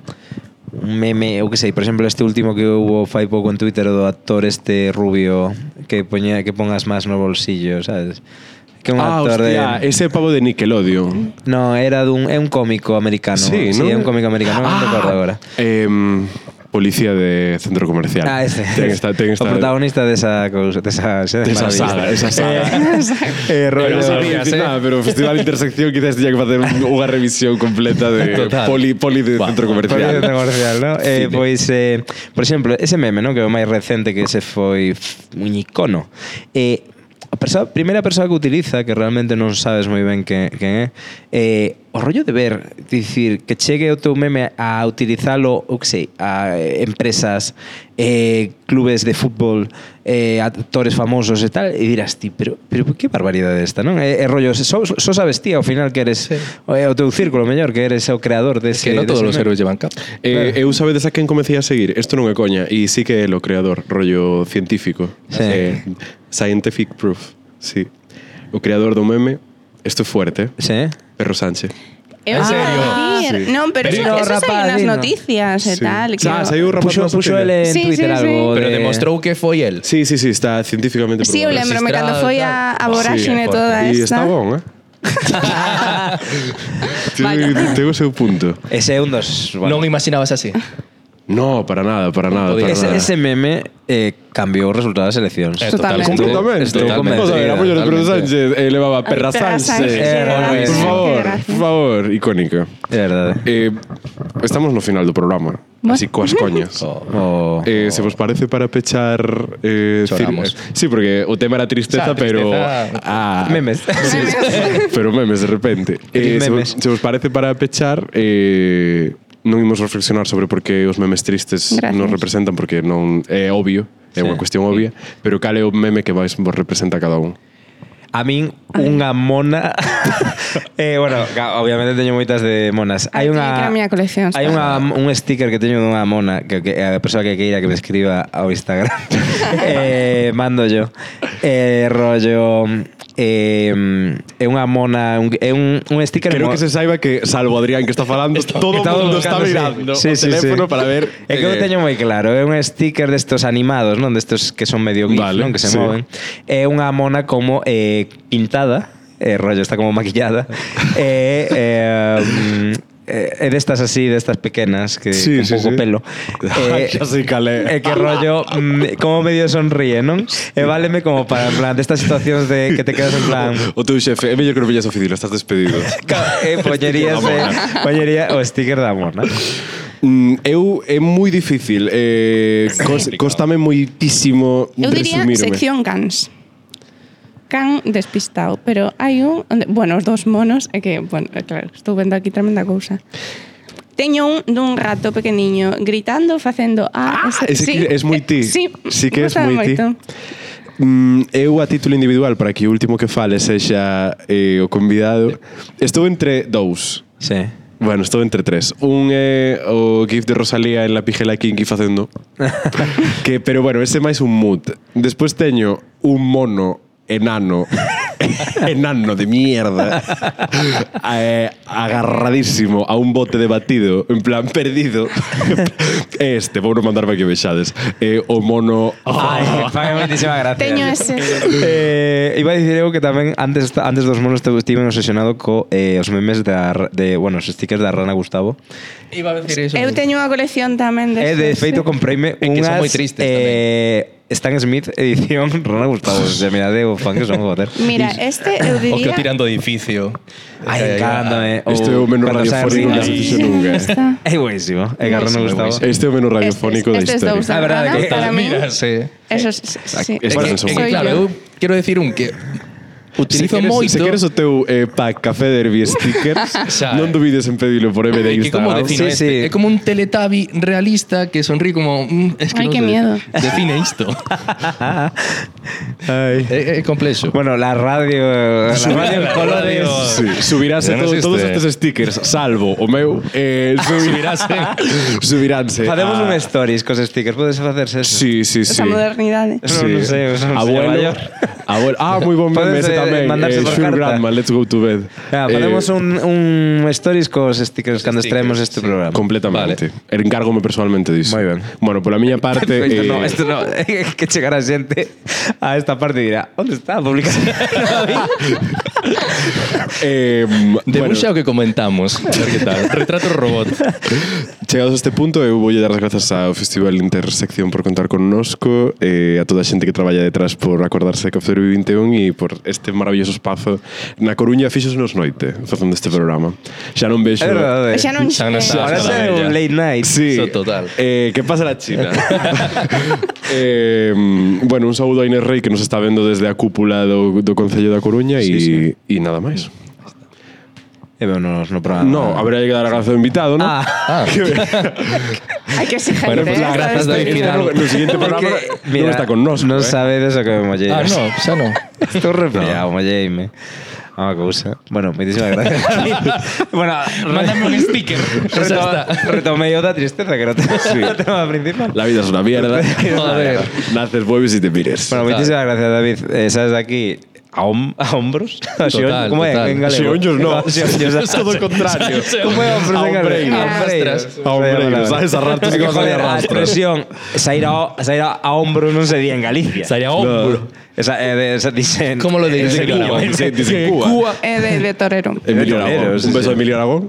Speaker 4: un meme, eu que sei, por exemplo, este último que hubo fai pouco en Twitter o do actor este rubio que poña que pongas máis no bolsillo, sabes? Que é un
Speaker 3: Ah,
Speaker 4: actor
Speaker 3: hostia,
Speaker 4: de
Speaker 3: ese pavo de Nickelodeon.
Speaker 4: No, era dun é un cómico americano. Ah, Sí, é un cómico americano, non recordo agora.
Speaker 3: Ah, Em, policía de centro comercial.
Speaker 4: Ah, ese.
Speaker 3: Ten esta, ten esta,
Speaker 4: o protagonista desa cousa, desa, desa,
Speaker 3: de esa saga, esa saga.
Speaker 4: Eh, rollo,
Speaker 3: Pero, sabías,
Speaker 6: sabías, eh.
Speaker 3: nada, pero Festival de Intersección quizás tenía que hacer un- unha revisión completa de
Speaker 6: Total.
Speaker 3: poli, poli de
Speaker 6: Buah,
Speaker 3: centro
Speaker 4: Comercial.
Speaker 3: comercial.
Speaker 4: comercial, ¿no? Eh,
Speaker 6: Cine.
Speaker 4: pois, eh, por exemplo, ese meme, ¿no? que é o máis recente que se foi un icono. Eh, a persoa, primeira persoa que utiliza, que realmente non sabes moi ben que, que é, eh, o rollo de ver, dicir, que chegue o teu meme a utilizalo, o que sei, a eh, empresas, eh, clubes de fútbol, eh, actores famosos e tal, e dirás ti, pero, pero que barbaridade esta, non? Eh, É, é rollo, só, só sabes ti ao final que eres sí.
Speaker 6: Sí.
Speaker 4: o, o teu círculo mellor, que eres o creador dese
Speaker 6: que non todos
Speaker 4: dese
Speaker 6: os
Speaker 4: meme.
Speaker 6: héroes llevan cap.
Speaker 3: Eh, eu sabedes a quen comecei a seguir? Isto non é coña, e sí que é o creador, rollo científico.
Speaker 4: Sí.
Speaker 3: Eh, scientific proof, sí. O creador do meme, isto é fuerte, eh,
Speaker 4: Sí.
Speaker 3: Perro Sánchez.
Speaker 2: Eu
Speaker 6: ¿En
Speaker 2: iba a
Speaker 6: serio?
Speaker 2: decir.
Speaker 3: Sí.
Speaker 2: No, pero eso,
Speaker 4: Pero
Speaker 2: eso salió en las
Speaker 4: rapadino.
Speaker 2: noticias y
Speaker 3: Sí.
Speaker 2: tal. que-
Speaker 3: Ah, saiu o rapaz
Speaker 4: Puxo,
Speaker 3: na
Speaker 4: puxo
Speaker 3: tele.
Speaker 4: ele en
Speaker 2: Sí,
Speaker 4: Twitter
Speaker 2: sí, sí.
Speaker 4: algo
Speaker 6: Pero
Speaker 4: de...
Speaker 6: demostrou que foi el.
Speaker 3: Sí, sí, sí, está científicamente
Speaker 2: Sí, eu
Speaker 3: probado.
Speaker 2: lembro, me cando
Speaker 6: Registrado,
Speaker 2: foi a,
Speaker 6: tal.
Speaker 2: a
Speaker 6: Sí,
Speaker 2: voráxine
Speaker 6: é fuerte.
Speaker 2: toda
Speaker 3: E
Speaker 2: esta.
Speaker 3: está bon, eh?
Speaker 2: Vaya.
Speaker 3: Tiene- Tiene o seu punto.
Speaker 4: Ese é un dos...
Speaker 6: Non imaginabas así. Eh,
Speaker 3: No, para nada, para nada. Para
Speaker 6: Podía
Speaker 4: ese,
Speaker 3: nada.
Speaker 4: ese meme eh, cambiou o resultado das eleccións.
Speaker 6: Eh,
Speaker 2: Totalmente.
Speaker 6: totalmente.
Speaker 3: Completamente.
Speaker 4: Estou
Speaker 3: Totalmente. Vamos
Speaker 4: convencido,
Speaker 3: a ver, apoyo de Pedro
Speaker 6: totalmente.
Speaker 3: Sánchez eh, elevaba
Speaker 2: Ay,
Speaker 3: Perra
Speaker 2: Perra
Speaker 3: Sánchez.
Speaker 2: Sánchez,
Speaker 4: Eh,
Speaker 2: gracias,
Speaker 3: por
Speaker 4: qué
Speaker 3: favor,
Speaker 2: gracias.
Speaker 3: por favor, icónica.
Speaker 4: É verdade.
Speaker 3: Eh, estamos no final do programa,
Speaker 2: Bueno. Oh.
Speaker 3: así coas coñas.
Speaker 4: O...
Speaker 3: Eh, se vos parece para pechar eh,
Speaker 6: Choramos.
Speaker 3: cir- Sí, porque o tema era tristeza,
Speaker 6: Xa, tristeza.
Speaker 3: pero ah,
Speaker 4: Memes.
Speaker 3: pero memes de repente. Eh, se,
Speaker 4: Memes.
Speaker 3: vos, se vos parece para pechar eh, non imos reflexionar sobre por que os memes tristes
Speaker 2: Gracias.
Speaker 3: nos representan porque non é obvio, é
Speaker 4: Sí.
Speaker 3: unha cuestión obvia, pero cal é o meme que máis vos representa a cada un?
Speaker 4: A min unha mona eh, bueno, ca- obviamente teño moitas de monas.
Speaker 2: Ai, teño que
Speaker 4: Hai
Speaker 2: ir á
Speaker 4: unha
Speaker 2: miña colección,
Speaker 4: Hai unha un sticker que teño dunha mona que, que a persoa que queira que me escriba ao Instagram. eh, mando yo. Eh, rollo eh, é unha mona, un, é un, un sticker
Speaker 3: Creo
Speaker 4: mo-
Speaker 3: que se saiba que, salvo Adrián que está falando, todo o mundo está
Speaker 4: buscando, sí.
Speaker 3: mirando
Speaker 4: Sí,
Speaker 3: o
Speaker 4: sí,
Speaker 3: teléfono
Speaker 4: sí.
Speaker 3: para ver...
Speaker 4: É que eu
Speaker 3: eh,
Speaker 4: teño moi claro, é un sticker destos animados, non, destos que son medio gif,
Speaker 3: Vale,
Speaker 4: non, que se
Speaker 3: sí.
Speaker 4: moven. É unha mona como eh pintada, eh rollo está como maquillada. eh, eh mm, eh, é destas así, destas pequenas que
Speaker 3: Sí,
Speaker 4: con
Speaker 3: sí,
Speaker 4: pouco
Speaker 3: sí.
Speaker 4: pelo. Eh,
Speaker 3: Xa sei cal é.
Speaker 4: É que rollo mm, como medio sonríe, non? E váleme como para en plan destas situacións de que te quedas en plan
Speaker 3: O teu xefe, é mellor que non veñas a oficina, estás despedido.
Speaker 4: ca- eh, pollerías, eh, pollería o sticker da mona.
Speaker 3: Mm, eu é moi difícil, eh, cos, costame moitísimo
Speaker 2: Eu diría
Speaker 3: resumirme.
Speaker 2: sección cans. Can despistado, pero hai un... onde- Bueno, os dos monos, é que, bueno, é claro, estou vendo aquí tremenda cousa. Teño un dun rato pequeniño gritando, facendo... Ah,
Speaker 3: Ah, ese que es moi ti.
Speaker 2: Sí,
Speaker 3: Sí que es
Speaker 2: gustaba
Speaker 3: moi ti.
Speaker 2: moito.
Speaker 3: Mm, eu a título individual, para que o último que fale sexa eh, o convidado, estou entre dous.
Speaker 4: Sí.
Speaker 3: Bueno, estou entre tres. Un é o gif de Rosalía en la pijela kinky facendo. que, pero bueno, ese é máis un mood. Despois teño un mono enano enano de mierda eh, agarradísimo a un bote de batido en plan perdido este, vou non mandar para que vexades eh, o mono
Speaker 4: Ai, fai moitísima gracia.
Speaker 2: Teño ese.
Speaker 4: eh, iba a dicir eu que tamén antes esta- antes dos monos te estive obsesionado co eh, os memes da, r- de, bueno, os stickers da rana Gustavo.
Speaker 6: Iba a decir eso.
Speaker 2: Eu teño unha colección tamén de...
Speaker 4: E de feito compreime
Speaker 6: É que son
Speaker 4: unhas
Speaker 6: moi tristes
Speaker 4: eh, Stan Smith edición Rona Gustavo, se me da de fan que son joder.
Speaker 2: Mira, este eu
Speaker 6: O que
Speaker 2: diría...
Speaker 6: o tirando edificio. Eh,
Speaker 4: Ai, eh. encándame.
Speaker 3: Este é o menos radiofónico que
Speaker 4: É
Speaker 3: fixo nunca. eh.
Speaker 2: Está.
Speaker 4: buenísimo, é que a Rona
Speaker 6: Buenísimo,
Speaker 4: Gustavo.
Speaker 6: buenísimo.
Speaker 3: Este é o menos radiofónico da
Speaker 2: Este- este es
Speaker 3: historia.
Speaker 2: Dousda,
Speaker 6: La verdad
Speaker 2: Ana,
Speaker 6: que
Speaker 2: para mí,
Speaker 6: mira, sí.
Speaker 2: Eso es, sí.
Speaker 3: Es
Speaker 6: É
Speaker 3: Bueno,
Speaker 6: que-
Speaker 3: son
Speaker 6: é que,
Speaker 3: buenos.
Speaker 6: claro,
Speaker 2: yo.
Speaker 6: eu quero decir un que
Speaker 3: Se
Speaker 6: utilizo
Speaker 3: queres,
Speaker 6: moito.
Speaker 3: se queres o teu eh, pack café derby stickers,
Speaker 6: Xa,
Speaker 3: non
Speaker 6: eh.
Speaker 3: dubides en pedilo por MD
Speaker 6: É que como
Speaker 3: Instagram.
Speaker 6: defino
Speaker 4: Sí,
Speaker 6: este?
Speaker 4: sí.
Speaker 6: É como un teletabi realista que sonríe como... mm, es que
Speaker 2: Ai,
Speaker 6: non
Speaker 2: que
Speaker 6: sei.
Speaker 2: miedo.
Speaker 6: Define isto.
Speaker 4: Ai.
Speaker 6: é, é complexo.
Speaker 4: Bueno, la radio, la radio en colores.
Speaker 3: Sí, subirase
Speaker 6: Ya no
Speaker 3: todo,
Speaker 6: existe.
Speaker 3: todos estes stickers, salvo o meu, eh, subirase, subiránse.
Speaker 4: Facemos
Speaker 3: a-
Speaker 4: un stories cos stickers, podes facerse eso.
Speaker 3: Ah. Sí, sí, sí.
Speaker 2: Esa ¿eh? modernidade.
Speaker 4: No, no sé, eso no se llama
Speaker 3: abuelo,
Speaker 4: yo.
Speaker 3: abuelo. Ah, muy buen meme
Speaker 4: Puedes,
Speaker 3: ese
Speaker 4: eh,
Speaker 3: tamén.
Speaker 4: mandarse
Speaker 3: Eh,
Speaker 4: por
Speaker 3: sure
Speaker 4: carta.
Speaker 3: grandma, let's go to bed.
Speaker 4: Venga,
Speaker 3: Eh,
Speaker 4: facemos Ah, un, un stories cos stickers cando
Speaker 6: Stickers,
Speaker 4: estreemos este
Speaker 6: sí.
Speaker 4: programa.
Speaker 3: Completamente. Vale. Encárgome personalmente disso.
Speaker 4: Moi ben.
Speaker 3: Bueno, pola miña parte...
Speaker 4: Isto no,
Speaker 3: eh,
Speaker 4: isto no, que chegará xente a esta parte e dirá, onde está a publicación?
Speaker 3: eh, bueno,
Speaker 6: Debuxa o que comentamos. A ver que tal. Retrato robot.
Speaker 3: Chegados a este punto, eu voulle dar as grazas ao Festival Intersección por contar connosco, eh, a toda a xente que traballa detrás por acordarse de Café 21 e por este maravilloso espazo na Coruña fixos nos noite facendo este programa. Xa non vexo...
Speaker 4: É verdade.
Speaker 2: Xa non
Speaker 6: Xa non
Speaker 2: sei.
Speaker 6: está.
Speaker 4: Ahora
Speaker 6: Ahora
Speaker 4: xa é
Speaker 6: xa
Speaker 4: un
Speaker 6: bella.
Speaker 4: late night.
Speaker 3: Sí.
Speaker 6: Eso total.
Speaker 3: Eh, que pasa la China? eh, bueno, un saúdo a Inés Rey que nos está vendo desde a cúpula do, do Concello da Coruña e sí, sí. nada máis.
Speaker 4: E ben, no, no programa.
Speaker 3: No, habrá que dar a gracia ao invitado, ¿no?
Speaker 4: Ah,
Speaker 6: Ah,
Speaker 2: Hai que exigir.
Speaker 6: Bueno, pues,
Speaker 2: ¿eh?
Speaker 6: gracias,
Speaker 2: Sabes
Speaker 6: David.
Speaker 2: que-
Speaker 6: final.
Speaker 3: No siguiente programa non está con ¿eh? nos.
Speaker 4: Non sabedes o que me mollei.
Speaker 6: ah no, xa non.
Speaker 4: Estou resfriado, no. molleime. Ah, Unha cousa. Bueno, moitísimas gracias. bueno,
Speaker 6: Mándame un sticker. Xa
Speaker 4: reto,
Speaker 6: está.
Speaker 4: retomei o da tristeza, que era o tema, o tema principal.
Speaker 3: La vida es una mierda.
Speaker 6: Joder.
Speaker 3: Naces, vuelves y te mires.
Speaker 4: Bueno, moitísimas gracias, David. Eh, sabes aquí a, hom a hombros? A
Speaker 6: Total,
Speaker 4: como é?
Speaker 6: total.
Speaker 4: En galego.
Speaker 3: Xeonllos no.
Speaker 4: Xeonllos,
Speaker 3: Es todo o contrario.
Speaker 4: Como é a hombros en galego?
Speaker 2: A
Speaker 6: hombreiros.
Speaker 3: A hombreiros, sabes, a ratos
Speaker 4: É que,
Speaker 3: que
Speaker 4: joder,
Speaker 3: vas a
Speaker 4: a
Speaker 3: rastros.
Speaker 4: expresión sair a, sair a, a hombros non se di en Galicia.
Speaker 6: Saía hombro.
Speaker 4: Esa, eh, de, esa dicen...
Speaker 6: Como lo diréis
Speaker 4: en
Speaker 6: en
Speaker 4: Cuba.
Speaker 6: Aragón?
Speaker 3: Sí, dice Cuba.
Speaker 2: É de, de torero.
Speaker 3: Emilio
Speaker 4: Pero,
Speaker 3: Aragón.
Speaker 4: sí,
Speaker 3: Un beso
Speaker 4: sí.
Speaker 3: a Emilio Aragón.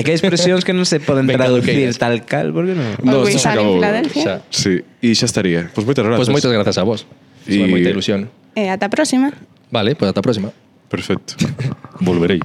Speaker 4: É que hai expresións que non se poden
Speaker 6: Venga,
Speaker 4: traducir
Speaker 6: Duqueiras.
Speaker 4: tal cal, por que non?
Speaker 3: No,
Speaker 2: Always
Speaker 3: se
Speaker 2: Sunny in
Speaker 3: acabou.
Speaker 2: Philadelphia.
Speaker 6: Xa.
Speaker 3: Sí, y ya estaría. Pues muchas gracias.
Speaker 6: Pois moitas grazas a vos.
Speaker 3: E-
Speaker 6: Foi moita ilusión.
Speaker 2: E ata a próxima.
Speaker 6: Vale, pois ata a próxima.
Speaker 3: Perfecto. Volveré.